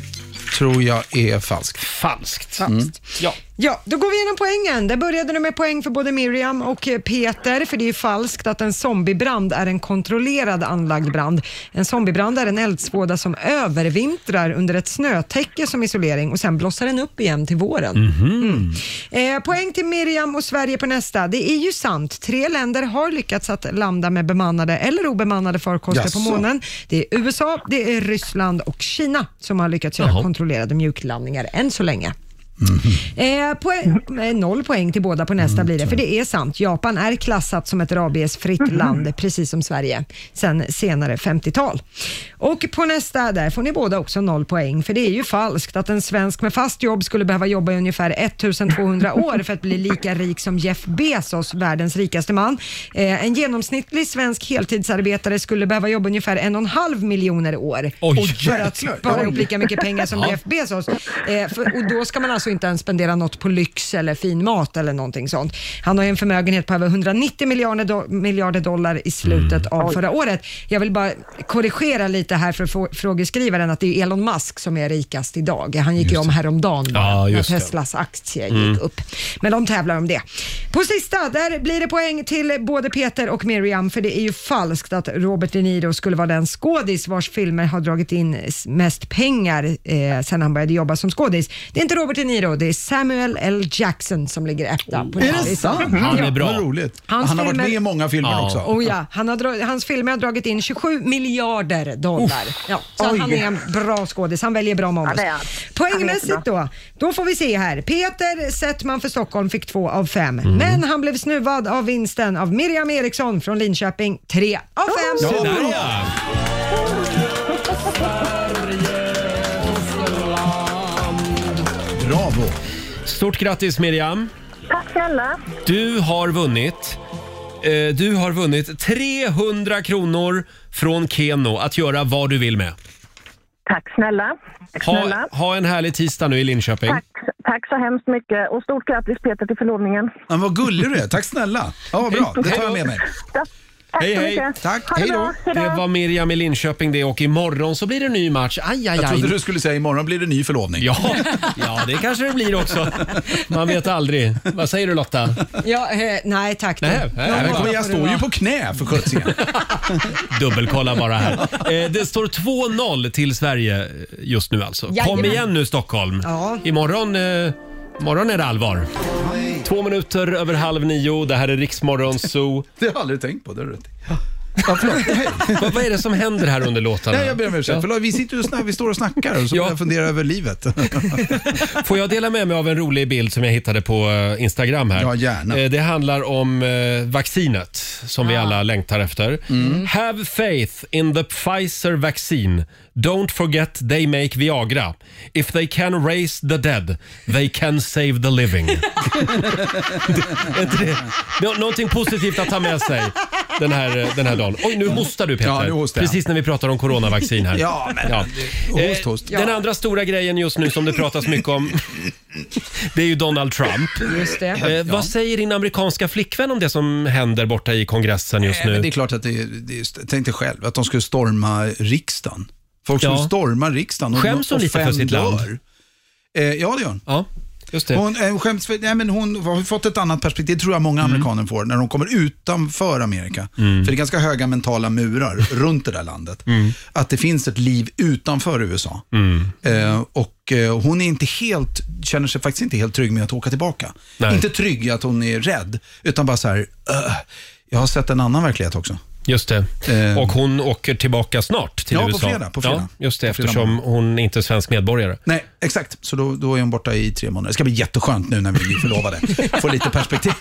[SPEAKER 9] tror jag är falskt.
[SPEAKER 1] Falskt.
[SPEAKER 9] Mm.
[SPEAKER 1] Ja.
[SPEAKER 2] Ja, då går vi igenom poängen. Där började du med poäng för både Miriam och eh, Peter, för det är ju falskt att en zombiebrand är en kontrollerad anlagd brand. En zombiebrand är en eldsvåda som övervintrar under ett snötäcke som isolering och sen blossar den upp igen till våren.
[SPEAKER 1] Mhm.
[SPEAKER 2] Mm. Eh, poäng till Miriam och Sverige på nästa. Det är ju sant, tre länder har lyckats att landa med bemannade eller obemannade farkoster på
[SPEAKER 10] Jaså?
[SPEAKER 2] månen. Det är USA, det är Ryssland och Kina som har lyckats göra
[SPEAKER 10] Jaha.
[SPEAKER 2] kontrollerade mjuklandningar än så länge. Eh, poäng, eh, noll poäng till båda på nästa
[SPEAKER 10] Mm,
[SPEAKER 2] blir det, för det är sant. Japan är klassat som ett
[SPEAKER 10] Mm-hmm.
[SPEAKER 2] rabiesfritt land, precis som Sverige, sen senare 50-tal. Och på nästa, där får ni båda också noll poäng, för det är ju falskt att en svensk med fast jobb skulle behöva jobba i ungefär 1200 år för att bli lika rik som Jeff Bezos, världens rikaste man. Eh, en genomsnittlig svensk heltidsarbetare skulle behöva jobba ungefär en och en halv miljoner år
[SPEAKER 10] Oj.
[SPEAKER 2] för att spara ihop lika mycket pengar som
[SPEAKER 10] Ja.
[SPEAKER 2] Jeff Bezos. Eh, för, och då ska man alltså inte ens spendera något på lyx eller fin mat eller någonting sånt. Han har ju en förmögenhet på över 190 miljarder, do- miljarder dollar i slutet av
[SPEAKER 10] Mm. Oj.
[SPEAKER 2] förra året. Jag vill bara korrigera lite här för frå- frågeskrivaren att det är Elon Musk som är rikast idag. Han gick ju om häromdagen bara,
[SPEAKER 10] Ja,
[SPEAKER 2] när
[SPEAKER 10] just det.
[SPEAKER 2] Teslas aktie
[SPEAKER 10] Mm.
[SPEAKER 2] gick upp. Men de tävlar om det. På sista, där blir det poäng till både Peter och Miriam, för det är ju falskt att Robert De Niro skulle vara den skådis vars filmer har dragit in s- mest pengar eh, sedan han började jobba som skådis. Det är inte Robert De Niro, det är Samuel L. Jackson som ligger etta på den
[SPEAKER 9] Är
[SPEAKER 2] här
[SPEAKER 9] det
[SPEAKER 2] listan.
[SPEAKER 9] sant?
[SPEAKER 2] Ja.
[SPEAKER 9] Vad roligt.
[SPEAKER 2] Hans
[SPEAKER 9] han har varit
[SPEAKER 2] filmer-
[SPEAKER 9] med i många filmer
[SPEAKER 2] Ja.
[SPEAKER 9] också.
[SPEAKER 2] Oh ja. han har dra- hans filmer har dragit in 27 miljarder dollar.
[SPEAKER 9] Uff.
[SPEAKER 2] Ja, så att
[SPEAKER 9] Oj.
[SPEAKER 2] han är en bra skådis. Han väljer bra manus.
[SPEAKER 10] Ja, det är han.
[SPEAKER 2] Poängmässigt då. Då får vi se här. Peter Settman för Stockholm fick två av fem.
[SPEAKER 1] Mhm.
[SPEAKER 10] Mm.
[SPEAKER 2] Men han blev snuvad av vinsten av Miriam Eriksson från Linköping. Tre av fem.
[SPEAKER 1] Så där ja.
[SPEAKER 9] Bravo.
[SPEAKER 1] Stort grattis Miriam.
[SPEAKER 13] Tack snälla.
[SPEAKER 1] Du har vunnit. eh, Du har vunnit 300 kronor från Keno att göra vad du vill med.
[SPEAKER 13] Tack snälla. Tack
[SPEAKER 1] Ha,
[SPEAKER 13] snälla.
[SPEAKER 1] ha en härlig tisdag nu i Linköping.
[SPEAKER 13] Tack, tack så hemskt mycket och stort grattis Peter till förlovningen.
[SPEAKER 9] Men vad gullig du är. Tack snälla. Ja, vad bra. Det tar jag med mig.
[SPEAKER 13] Tack
[SPEAKER 1] Hej,
[SPEAKER 13] så
[SPEAKER 1] hej.
[SPEAKER 13] mycket.
[SPEAKER 9] Tack.
[SPEAKER 13] Ha det
[SPEAKER 9] Hej
[SPEAKER 13] bra.
[SPEAKER 9] då.
[SPEAKER 13] Hej
[SPEAKER 1] Det var Miriam i Linköping det och imorgon så blir det en ny match. Aj, aj,
[SPEAKER 9] Jag
[SPEAKER 1] aj.
[SPEAKER 9] trodde du skulle säga imorgon blir det ny förlovning.
[SPEAKER 1] Ja, ja, det kanske det blir också. Man vet aldrig. Vad säger du Lotta?
[SPEAKER 2] Ja, eh, nej tack. då.
[SPEAKER 1] Nej, nej,
[SPEAKER 2] Ja,
[SPEAKER 1] men
[SPEAKER 2] bra
[SPEAKER 1] kom igen, jag
[SPEAKER 2] får det
[SPEAKER 1] står ju
[SPEAKER 2] vara.
[SPEAKER 9] På knä för sjuttsingen.
[SPEAKER 1] Dubbelkolla bara här. Eh, Det står 2-0 till Sverige eh, just nu alltså. Kom
[SPEAKER 2] Jajamän.
[SPEAKER 1] igen nu Stockholm. Imorgon, eh, imorgon är det allvar. Två minuter över halv nio. Det här är Riksmorgon Zoo.
[SPEAKER 9] Det har jag aldrig tänkt på. Det har du rätt i.
[SPEAKER 1] Vad, vad är det som händer här under låtarna?
[SPEAKER 9] Nej, jag ber om ursäkt. Förlåt, Vi sitter ju och snack, vi står och snackar och så börjar jag fundera över livet.
[SPEAKER 1] Får jag dela med mig av en rolig bild som jag hittade på eh, Instagram här?
[SPEAKER 9] Ja, gärna.
[SPEAKER 1] Eh, Det handlar om eh, vaccinet som vi alla längtar efter.
[SPEAKER 9] Mm.
[SPEAKER 1] Have faith in the Pfizer vaccine. Don't forget they make Viagra. If they can raise the dead, they can save the living. Är inte det? Nå- Någonting positivt att ta med sig den här, eh, den här dagen. Oj, nu hostar du Peter.
[SPEAKER 9] Ja, nu hostar jag.
[SPEAKER 1] Precis när vi pratar om coronavaccin här.
[SPEAKER 9] Ja, men-
[SPEAKER 1] Eh,
[SPEAKER 9] Host, host.
[SPEAKER 1] Den
[SPEAKER 9] Ja.
[SPEAKER 1] andra stora grejen just nu som det pratas mycket om, det är ju Donald Trump.
[SPEAKER 2] Just det.
[SPEAKER 1] Eh, Vad säger din amerikanska flickvän om det som händer borta i kongressen just
[SPEAKER 9] Nej,
[SPEAKER 1] nu?
[SPEAKER 9] men det är klart att det, det är- tänk dig själv att de skulle storma riksdagen. Folk skulle
[SPEAKER 1] Ja.
[SPEAKER 9] storma riksdagen. och-
[SPEAKER 1] Skäms hon
[SPEAKER 9] och
[SPEAKER 1] lite för
[SPEAKER 9] fem
[SPEAKER 1] sitt land?
[SPEAKER 9] dör. Eh, ja, det gör hon.
[SPEAKER 1] Ja, just det.
[SPEAKER 9] Hon, eh, skäms för, nej, men hon har fått ett annat perspektiv, det tror jag
[SPEAKER 1] Mm.
[SPEAKER 9] många amerikaner får, när de kommer utanför Amerika. För det är ganska höga mentala murar runt det där landet.
[SPEAKER 1] Mm.
[SPEAKER 9] Att det finns ett liv utanför USA. Eh, och eh, hon är inte helt, känner sig faktiskt inte helt trygg med att åka tillbaka.
[SPEAKER 1] Nej.
[SPEAKER 9] Inte trygg i att hon är rädd, utan bara så här, "Ugh, jag har sett en annan verklighet också.
[SPEAKER 1] Just det. Och hon åker tillbaka snart till
[SPEAKER 9] Eh. Ja, på
[SPEAKER 1] USA.
[SPEAKER 9] fredag, på fredag.
[SPEAKER 1] Ja, just det,
[SPEAKER 9] På fredag
[SPEAKER 1] eftersom hon inte är svensk medborgare.
[SPEAKER 9] Nej, exakt. Så då, då är hon borta i tre månader. Det ska bli jätteskönt nu när vi blir förlovade. Få lite perspektiv.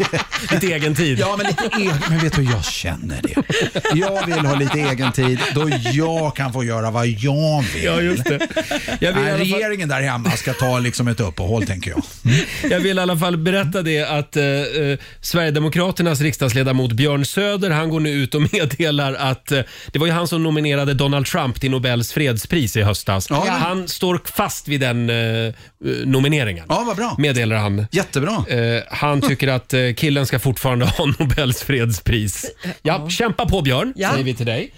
[SPEAKER 1] lite egen tid.
[SPEAKER 9] Ja, men lite egen. Men vet du, jag känner det. Jag vill ha lite egen tid då jag kan få göra vad jag vill.
[SPEAKER 1] Ja, just det. Jag vill i
[SPEAKER 9] Nej,
[SPEAKER 1] alla fall-
[SPEAKER 9] regeringen där hemma ska ta liksom ett uppehåll, tänker jag.
[SPEAKER 1] Jag vill i alla fall berätta det att eh, eh, Sverigedemokraternas riksdagsledamot Björn Söder, han går nu ut och meddelar att eh, det var ju han som nominerade Donald Trump till Nobels fredspris i höstas.
[SPEAKER 9] Ja.
[SPEAKER 1] Han står fast vid den eh, eh, nomineringen.
[SPEAKER 9] Ja, vad bra.
[SPEAKER 1] Meddelar han.
[SPEAKER 9] Jättebra.
[SPEAKER 1] han tycker att eh, killen ska fortfarande ha Nobels fredspris. Ja, kämpa på Björn,
[SPEAKER 2] Ja.
[SPEAKER 1] säger vi till dig.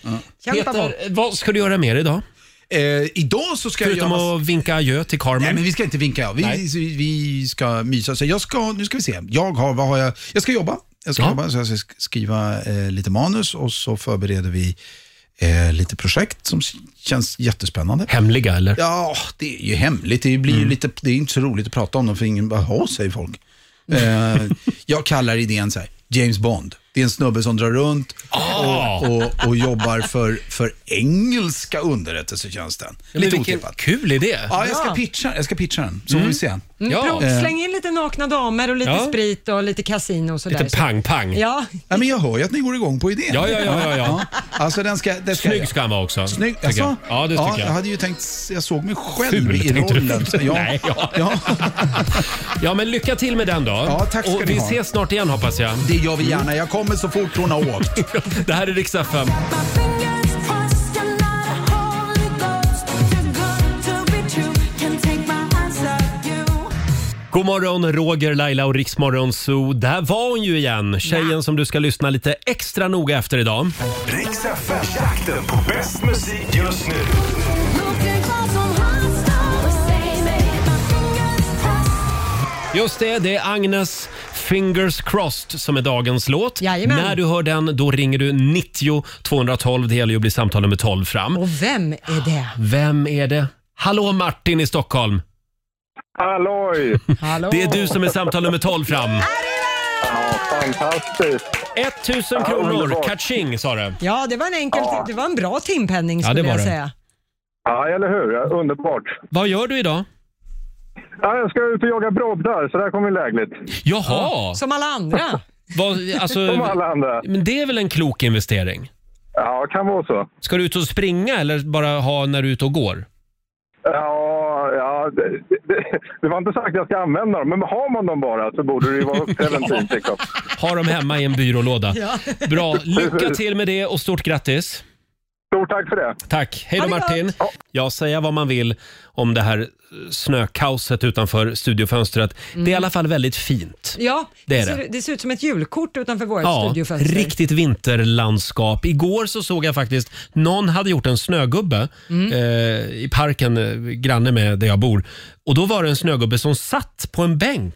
[SPEAKER 2] Kämpa
[SPEAKER 1] Peter, vad ska du göra mer idag?
[SPEAKER 9] Eh, idag så ska
[SPEAKER 1] Förutom
[SPEAKER 9] jag...
[SPEAKER 1] att vinka adjö till Carmen.
[SPEAKER 9] Nej, men vi ska inte vinka. ja. Vi,
[SPEAKER 1] Nej.
[SPEAKER 9] vi, vi ska mysa. Så jag ska, nu ska vi se. Jag har, vad har jag? Jag ska jobba. Jag ska,
[SPEAKER 1] Ja.
[SPEAKER 9] jobba, så jag ska sk- skriva eh, lite manus och så förbereder vi eh, lite projekt som s- känns jättespännande.
[SPEAKER 1] Hemliga eller?
[SPEAKER 9] Ja, det är ju hemligt. Det, blir
[SPEAKER 1] Mm.
[SPEAKER 9] ju lite, det är inte så roligt att prata om dem för ingen bara, ha säger folk. Eh, jag kallar idén så här, James Bond. Det är en snubbe som drar runt
[SPEAKER 1] Ah.
[SPEAKER 9] och, och, och jobbar för, för engelska underrättelsetjänsten.
[SPEAKER 1] men
[SPEAKER 9] Lite
[SPEAKER 1] vilken
[SPEAKER 9] otippat.
[SPEAKER 1] kul idé.
[SPEAKER 9] Ja, jag
[SPEAKER 2] Ja.
[SPEAKER 9] ska pitcha, jag ska pitcha den, så får vi se.
[SPEAKER 2] Mm, prov,
[SPEAKER 9] Eh,
[SPEAKER 2] Släng in lite nakna damer och lite
[SPEAKER 9] Ja.
[SPEAKER 2] sprit och lite kasino och sådär.
[SPEAKER 1] pang.
[SPEAKER 2] Ja.
[SPEAKER 9] ja men jag hör ju att ni går igång på idén.
[SPEAKER 1] Ja, ja, ja, ja, ja.
[SPEAKER 9] Alltså, den ska, den ska
[SPEAKER 1] Snygg
[SPEAKER 9] jag.
[SPEAKER 1] ska han vara också.
[SPEAKER 9] Snygg,
[SPEAKER 1] tycker
[SPEAKER 9] alltså?
[SPEAKER 1] jag. Ja, det tycker
[SPEAKER 9] jag.
[SPEAKER 1] jag.
[SPEAKER 9] hade ju tänkt, jag såg mig själv
[SPEAKER 1] Ful,
[SPEAKER 9] i
[SPEAKER 1] tänkte du.
[SPEAKER 9] rollen. Så, ja.
[SPEAKER 1] Nej, ja.
[SPEAKER 9] Ja.
[SPEAKER 1] ja, men lycka till med den då.
[SPEAKER 9] Ja, tack ska
[SPEAKER 1] Och
[SPEAKER 9] ni
[SPEAKER 1] vi
[SPEAKER 9] ha.
[SPEAKER 1] ses snart igen hoppas jag.
[SPEAKER 9] Det gör vi gärna. Jag kommer så fort hon har åkt.
[SPEAKER 1] det här är riksdag 5. God morgon, Roger, Laila och Riksmorgon Zoo. Där var hon ju igen, tjejen som du ska lyssna lite extra noga efter idag.
[SPEAKER 4] Riks FM-jakten på bäst musik just nu.
[SPEAKER 1] Just det, det är Agnes Fingers Crossed som är dagens låt.
[SPEAKER 2] Jajamän.
[SPEAKER 1] När du hör den, då ringer du 90 212. Det gäller ju att bli samtal nummer 12 fram.
[SPEAKER 2] Och vem är det?
[SPEAKER 1] Vem är det? Hallå Martin i Stockholm.
[SPEAKER 10] Halloj!
[SPEAKER 2] Hallå.
[SPEAKER 1] Det är du som är samtal nummer 12 fram.
[SPEAKER 10] Ja, fantastiskt.
[SPEAKER 1] 1000 kronor, catching sa du.
[SPEAKER 2] Ja, det var en enkel, det var en bra timpenning
[SPEAKER 1] Ja,
[SPEAKER 2] skulle
[SPEAKER 1] det var
[SPEAKER 2] jag
[SPEAKER 1] det.
[SPEAKER 2] säga.
[SPEAKER 10] Ja, eller hur? Ja, Underbart.
[SPEAKER 1] Vad gör du idag?
[SPEAKER 10] Ja, jag ska ut och jaga broddar, så där kommer lägligt.
[SPEAKER 1] Jaha!
[SPEAKER 2] Som alla andra.
[SPEAKER 1] Vad, alltså,
[SPEAKER 10] Som alla andra.
[SPEAKER 1] men det är väl en klok investering?
[SPEAKER 10] Ja, kan vara så.
[SPEAKER 1] Ska du ut och springa eller bara ha när du är ute och går?
[SPEAKER 10] Ja, ja det, det, det var inte sagt att jag ska använda dem, men har man dem bara så borde det ju vara preventivt. Liksom.
[SPEAKER 1] Ha dem hemma i en byrålåda. Bra, lycka till med det och stort grattis.
[SPEAKER 10] Stort tack för det.
[SPEAKER 1] Tack. Hej då
[SPEAKER 10] Ha det
[SPEAKER 1] Martin. Ja, säga vad man vill om det här eh, snökaoset utanför studiofönstret. Det är i alla fall väldigt fint.
[SPEAKER 2] Ja,
[SPEAKER 1] Det
[SPEAKER 2] det,
[SPEAKER 1] är
[SPEAKER 2] ser,
[SPEAKER 1] det.
[SPEAKER 2] det ser ut som ett julkort utanför vårt
[SPEAKER 1] Ja,
[SPEAKER 2] studiofönster.
[SPEAKER 1] riktigt vinterlandskap. Igår så såg jag faktiskt, någon hade gjort en snögubbe
[SPEAKER 2] Mm.
[SPEAKER 1] eh, i parken eh, granne med där jag bor. Och då var det en snögubbe som satt på en bänk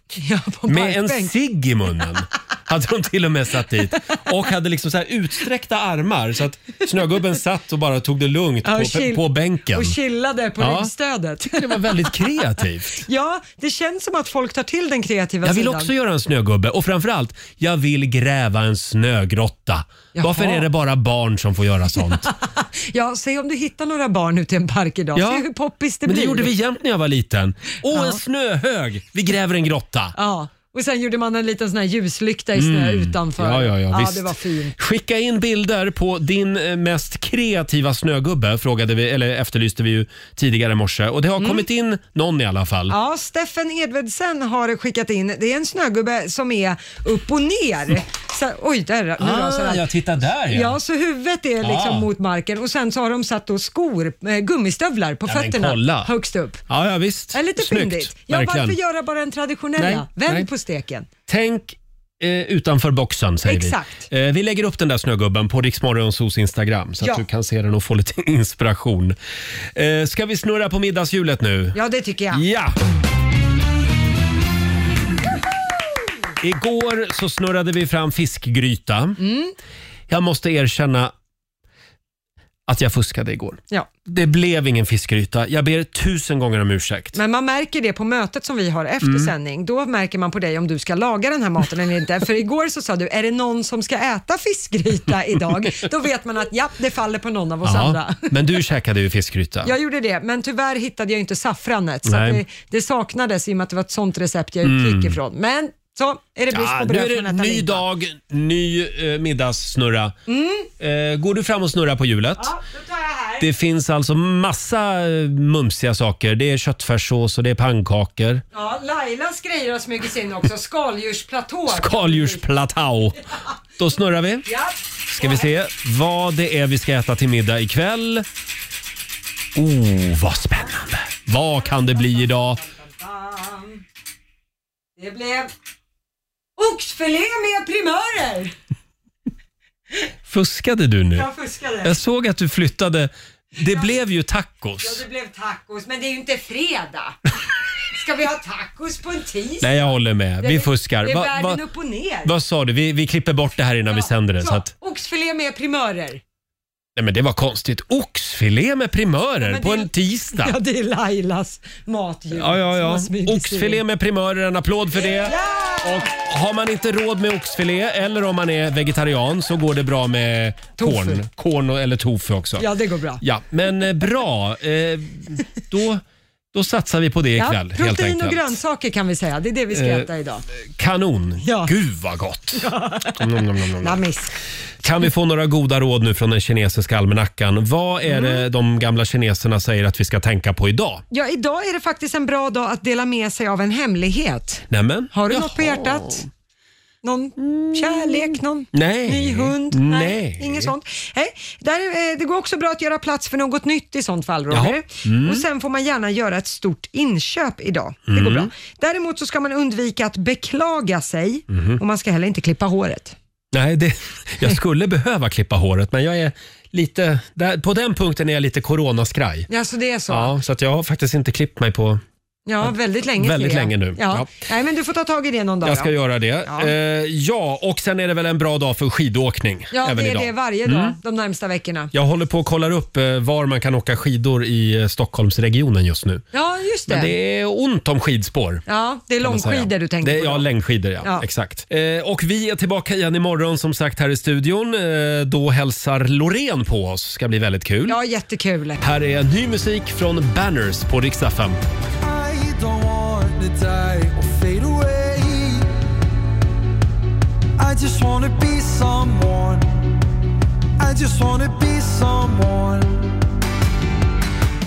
[SPEAKER 1] med en
[SPEAKER 2] parkbänk.
[SPEAKER 1] cigg i munnen. Hade de till och med satt dit. Och hade liksom så här utsträckta armar så att snögubben satt och bara tog det lugnt
[SPEAKER 2] Ja, och
[SPEAKER 1] på,
[SPEAKER 2] chill-
[SPEAKER 1] på bänken.
[SPEAKER 2] Och chillade på
[SPEAKER 1] Ja.
[SPEAKER 2] ryggstödet.
[SPEAKER 1] tycker det var väldigt kreativt.
[SPEAKER 2] Ja, det känns som att folk tar till den kreativa
[SPEAKER 1] Jag vill
[SPEAKER 2] sidan.
[SPEAKER 1] också göra en snögubbe och framförallt, jag vill gräva en snögrotta.
[SPEAKER 2] Jaha.
[SPEAKER 1] Varför är det bara barn som får göra sånt?
[SPEAKER 2] Ja, se om du hittar några barn ute i en park idag.
[SPEAKER 1] Ja.
[SPEAKER 2] Se hur poppis det
[SPEAKER 1] Men det
[SPEAKER 2] blir.
[SPEAKER 1] gjorde vi jämt när jag var liten. Åh,
[SPEAKER 2] Ja.
[SPEAKER 1] en snöhög! Vi gräver en grotta.
[SPEAKER 2] Ja, och sen gjorde man en liten sån här ljuslykta i snö
[SPEAKER 1] Mm.
[SPEAKER 2] utanför.
[SPEAKER 1] Ja, ja, ja, visst.
[SPEAKER 2] det var fint.
[SPEAKER 1] Skicka in bilder på din eh, mest kreativa snögubbe, frågade vi, eller efterlyste vi ju tidigare i morse. Och det
[SPEAKER 2] Mm.
[SPEAKER 1] har kommit in någon i alla fall.
[SPEAKER 2] Ja, Steffen Edvardsen har skickat in, det är en snögubbe som är upp och ner. Så, oj, där, nu rasar allt.
[SPEAKER 1] Ah, tittar där
[SPEAKER 2] Ja, så huvudet är liksom
[SPEAKER 1] Ah.
[SPEAKER 2] mot marken och sen så har de satt då skor, eh, gummistövlar på
[SPEAKER 1] Ja, men
[SPEAKER 2] fötterna
[SPEAKER 1] kolla.
[SPEAKER 2] högst upp.
[SPEAKER 1] Ja, ja visst.
[SPEAKER 2] Ja, lite
[SPEAKER 1] Snyggt.
[SPEAKER 2] fyndigt. Ja,
[SPEAKER 1] verkligen.
[SPEAKER 2] varför göra bara en traditionella?
[SPEAKER 1] Nej,
[SPEAKER 2] Vänd
[SPEAKER 1] nej.
[SPEAKER 2] på steken.
[SPEAKER 1] Tänk eh, utanför boxen säger
[SPEAKER 2] Exakt.
[SPEAKER 1] vi. Eh, vi lägger upp den där snögubben på Riksmorgonsos Instagram så
[SPEAKER 2] Ja.
[SPEAKER 1] att du kan se den och få lite inspiration. Eh, ska vi snurra på middagshjulet nu?
[SPEAKER 2] Ja, det tycker jag.
[SPEAKER 1] Ja! Igår så snurrade vi fram fiskgryta.
[SPEAKER 2] Mm.
[SPEAKER 1] Jag måste erkänna att jag fuskade igår.
[SPEAKER 2] Ja.
[SPEAKER 1] Det blev ingen fiskgryta. Jag ber tusen gånger om ursäkt.
[SPEAKER 2] Men man märker det på mötet som vi har efter
[SPEAKER 1] Mm.
[SPEAKER 2] sändning. Då märker man på dig om du ska laga den här maten eller inte. För igår så sa du, är det någon som ska äta fiskgryta idag? Då vet man att ja, det faller på någon av oss andra.
[SPEAKER 1] men du käkade ju fiskgryta.
[SPEAKER 2] Jag gjorde det, men tyvärr hittade jag inte saffranet. Så att
[SPEAKER 1] Nej.
[SPEAKER 2] det, det saknades i och med att det var ett sånt recept jag utgick
[SPEAKER 1] Mm.
[SPEAKER 2] ifrån. Men så är det brist
[SPEAKER 1] Ja,
[SPEAKER 2] på
[SPEAKER 1] nu
[SPEAKER 2] bröd
[SPEAKER 1] är
[SPEAKER 2] från
[SPEAKER 1] det
[SPEAKER 2] Nathalie.
[SPEAKER 1] ny dag, ny eh, middagssnurra.
[SPEAKER 2] Mm.
[SPEAKER 1] Eh, går du fram och snurrar på hjulet? Det finns alltså massa eh, mumsiga saker. Det är köttfärssås och det är pannkakor.
[SPEAKER 2] Ja, Lailas grejer har smugit sig in också. Skaldjursplatå.
[SPEAKER 1] Skaldjursplatå. Då snurrar vi.
[SPEAKER 2] Ja.
[SPEAKER 1] Ska vi se vad det är vi ska äta till middag ikväll. Oh, vad spännande. Vad kan det bli idag?
[SPEAKER 2] Det blev oxfilé med primörer.
[SPEAKER 1] Fuskade du nu?
[SPEAKER 2] Jag fuskade.
[SPEAKER 1] Jag såg att du flyttade Det blev ju tacos.
[SPEAKER 2] Ja, det blev tacos, men det är ju inte fredag. Ska vi ha tacos på en tisdag?
[SPEAKER 1] Nej, jag håller med. Vi fuskar.
[SPEAKER 2] Det är
[SPEAKER 1] Va-
[SPEAKER 2] världen
[SPEAKER 1] va-
[SPEAKER 2] upp och ner.
[SPEAKER 1] Vad sa du? Vi, vi klipper bort det här innan vi sänder det. Så att,
[SPEAKER 2] Oxfilé med primörer.
[SPEAKER 1] nej men det var konstigt. Oxfilé med primörer på en tisdag.
[SPEAKER 2] Ja, det är Lailas matljud.
[SPEAKER 1] Ja, ja,
[SPEAKER 2] som
[SPEAKER 1] ja.
[SPEAKER 2] har smugit sig
[SPEAKER 1] Oxfilé
[SPEAKER 2] in.
[SPEAKER 1] med primörer, en applåd för det. Och har man inte råd med oxfilé eller om man är vegetarian så går det bra med
[SPEAKER 2] Tofu.
[SPEAKER 1] korn, korn och- eller tofu också.
[SPEAKER 2] Ja, det går bra.
[SPEAKER 1] Ja, men eh, bra. Eh, då, då satsar vi på det
[SPEAKER 2] Ja,
[SPEAKER 1] ikväll helt
[SPEAKER 2] protein och
[SPEAKER 1] enkelt.
[SPEAKER 2] grönsaker kan vi säga. Det är det vi ska
[SPEAKER 1] Eh,
[SPEAKER 2] äta idag.
[SPEAKER 1] Kanon. Gud vad gott. Mm, mm, mm, mm.
[SPEAKER 2] Nammis.
[SPEAKER 1] Kan vi få några goda råd nu från den kinesiska almanackan? Vad är
[SPEAKER 2] Mm.
[SPEAKER 1] det de gamla kineserna säger att vi ska tänka på idag?
[SPEAKER 2] Ja, idag är det faktiskt en bra dag att dela med sig av en hemlighet.
[SPEAKER 1] Nämen?
[SPEAKER 2] Har du något på hjärtat? Någon kärlek, någon
[SPEAKER 1] Nej.
[SPEAKER 2] ny hund?
[SPEAKER 1] Nej.
[SPEAKER 2] Inget sånt. Nej. Där, eh, det går också bra att göra plats för något nytt i sånt fall, Roger.
[SPEAKER 15] Jaha. Mm.
[SPEAKER 2] Och sen får man gärna göra ett stort inköp idag. Det går
[SPEAKER 15] Mm.
[SPEAKER 2] bra. Däremot så ska man undvika att beklaga sig
[SPEAKER 1] Mhm.
[SPEAKER 2] och man ska heller inte klippa håret.
[SPEAKER 1] Nej, det, jag skulle behöva klippa håret men jag är lite... Där, på den punkten är jag lite coronaskraj.
[SPEAKER 2] Alltså det är så. Ja,
[SPEAKER 1] Ja, så att jag har faktiskt inte klippt mig på...
[SPEAKER 2] väldigt länge.
[SPEAKER 1] Väldigt
[SPEAKER 2] ser jag.
[SPEAKER 1] länge nu.
[SPEAKER 2] Ja.
[SPEAKER 1] Ja.
[SPEAKER 2] Nej, men du får ta tag i det någon dag.
[SPEAKER 1] Jag ska
[SPEAKER 2] då.
[SPEAKER 1] göra det. Ja.
[SPEAKER 2] Ja.
[SPEAKER 1] Eh, ja, och sen är det väl en bra dag för skidåkning.
[SPEAKER 2] Ja,
[SPEAKER 1] även
[SPEAKER 2] det är
[SPEAKER 1] idag.
[SPEAKER 2] det varje dag
[SPEAKER 1] Mm.
[SPEAKER 2] de närmsta veckorna.
[SPEAKER 1] Jag håller på och kollar upp eh, var man kan åka skidor i eh, Stockholmsregionen just nu.
[SPEAKER 2] Ja, just det.
[SPEAKER 1] Men det är ont om skidspår.
[SPEAKER 2] Ja, det är
[SPEAKER 1] kan man säga.
[SPEAKER 2] långskidor du tänker
[SPEAKER 1] det,
[SPEAKER 2] på.
[SPEAKER 1] Ja, längdskidor ja.
[SPEAKER 2] Ja.
[SPEAKER 1] Exakt. Eh, och vi är tillbaka igen imorgon som sagt här i studion. Eh, då hälsar Loreen på oss. ska bli väldigt kul.
[SPEAKER 2] Ja, jättekul.
[SPEAKER 1] Här är ny musik från Banners på Rix FM.
[SPEAKER 4] I don't want to die or fade away. I just wanna be someone. I just wanna be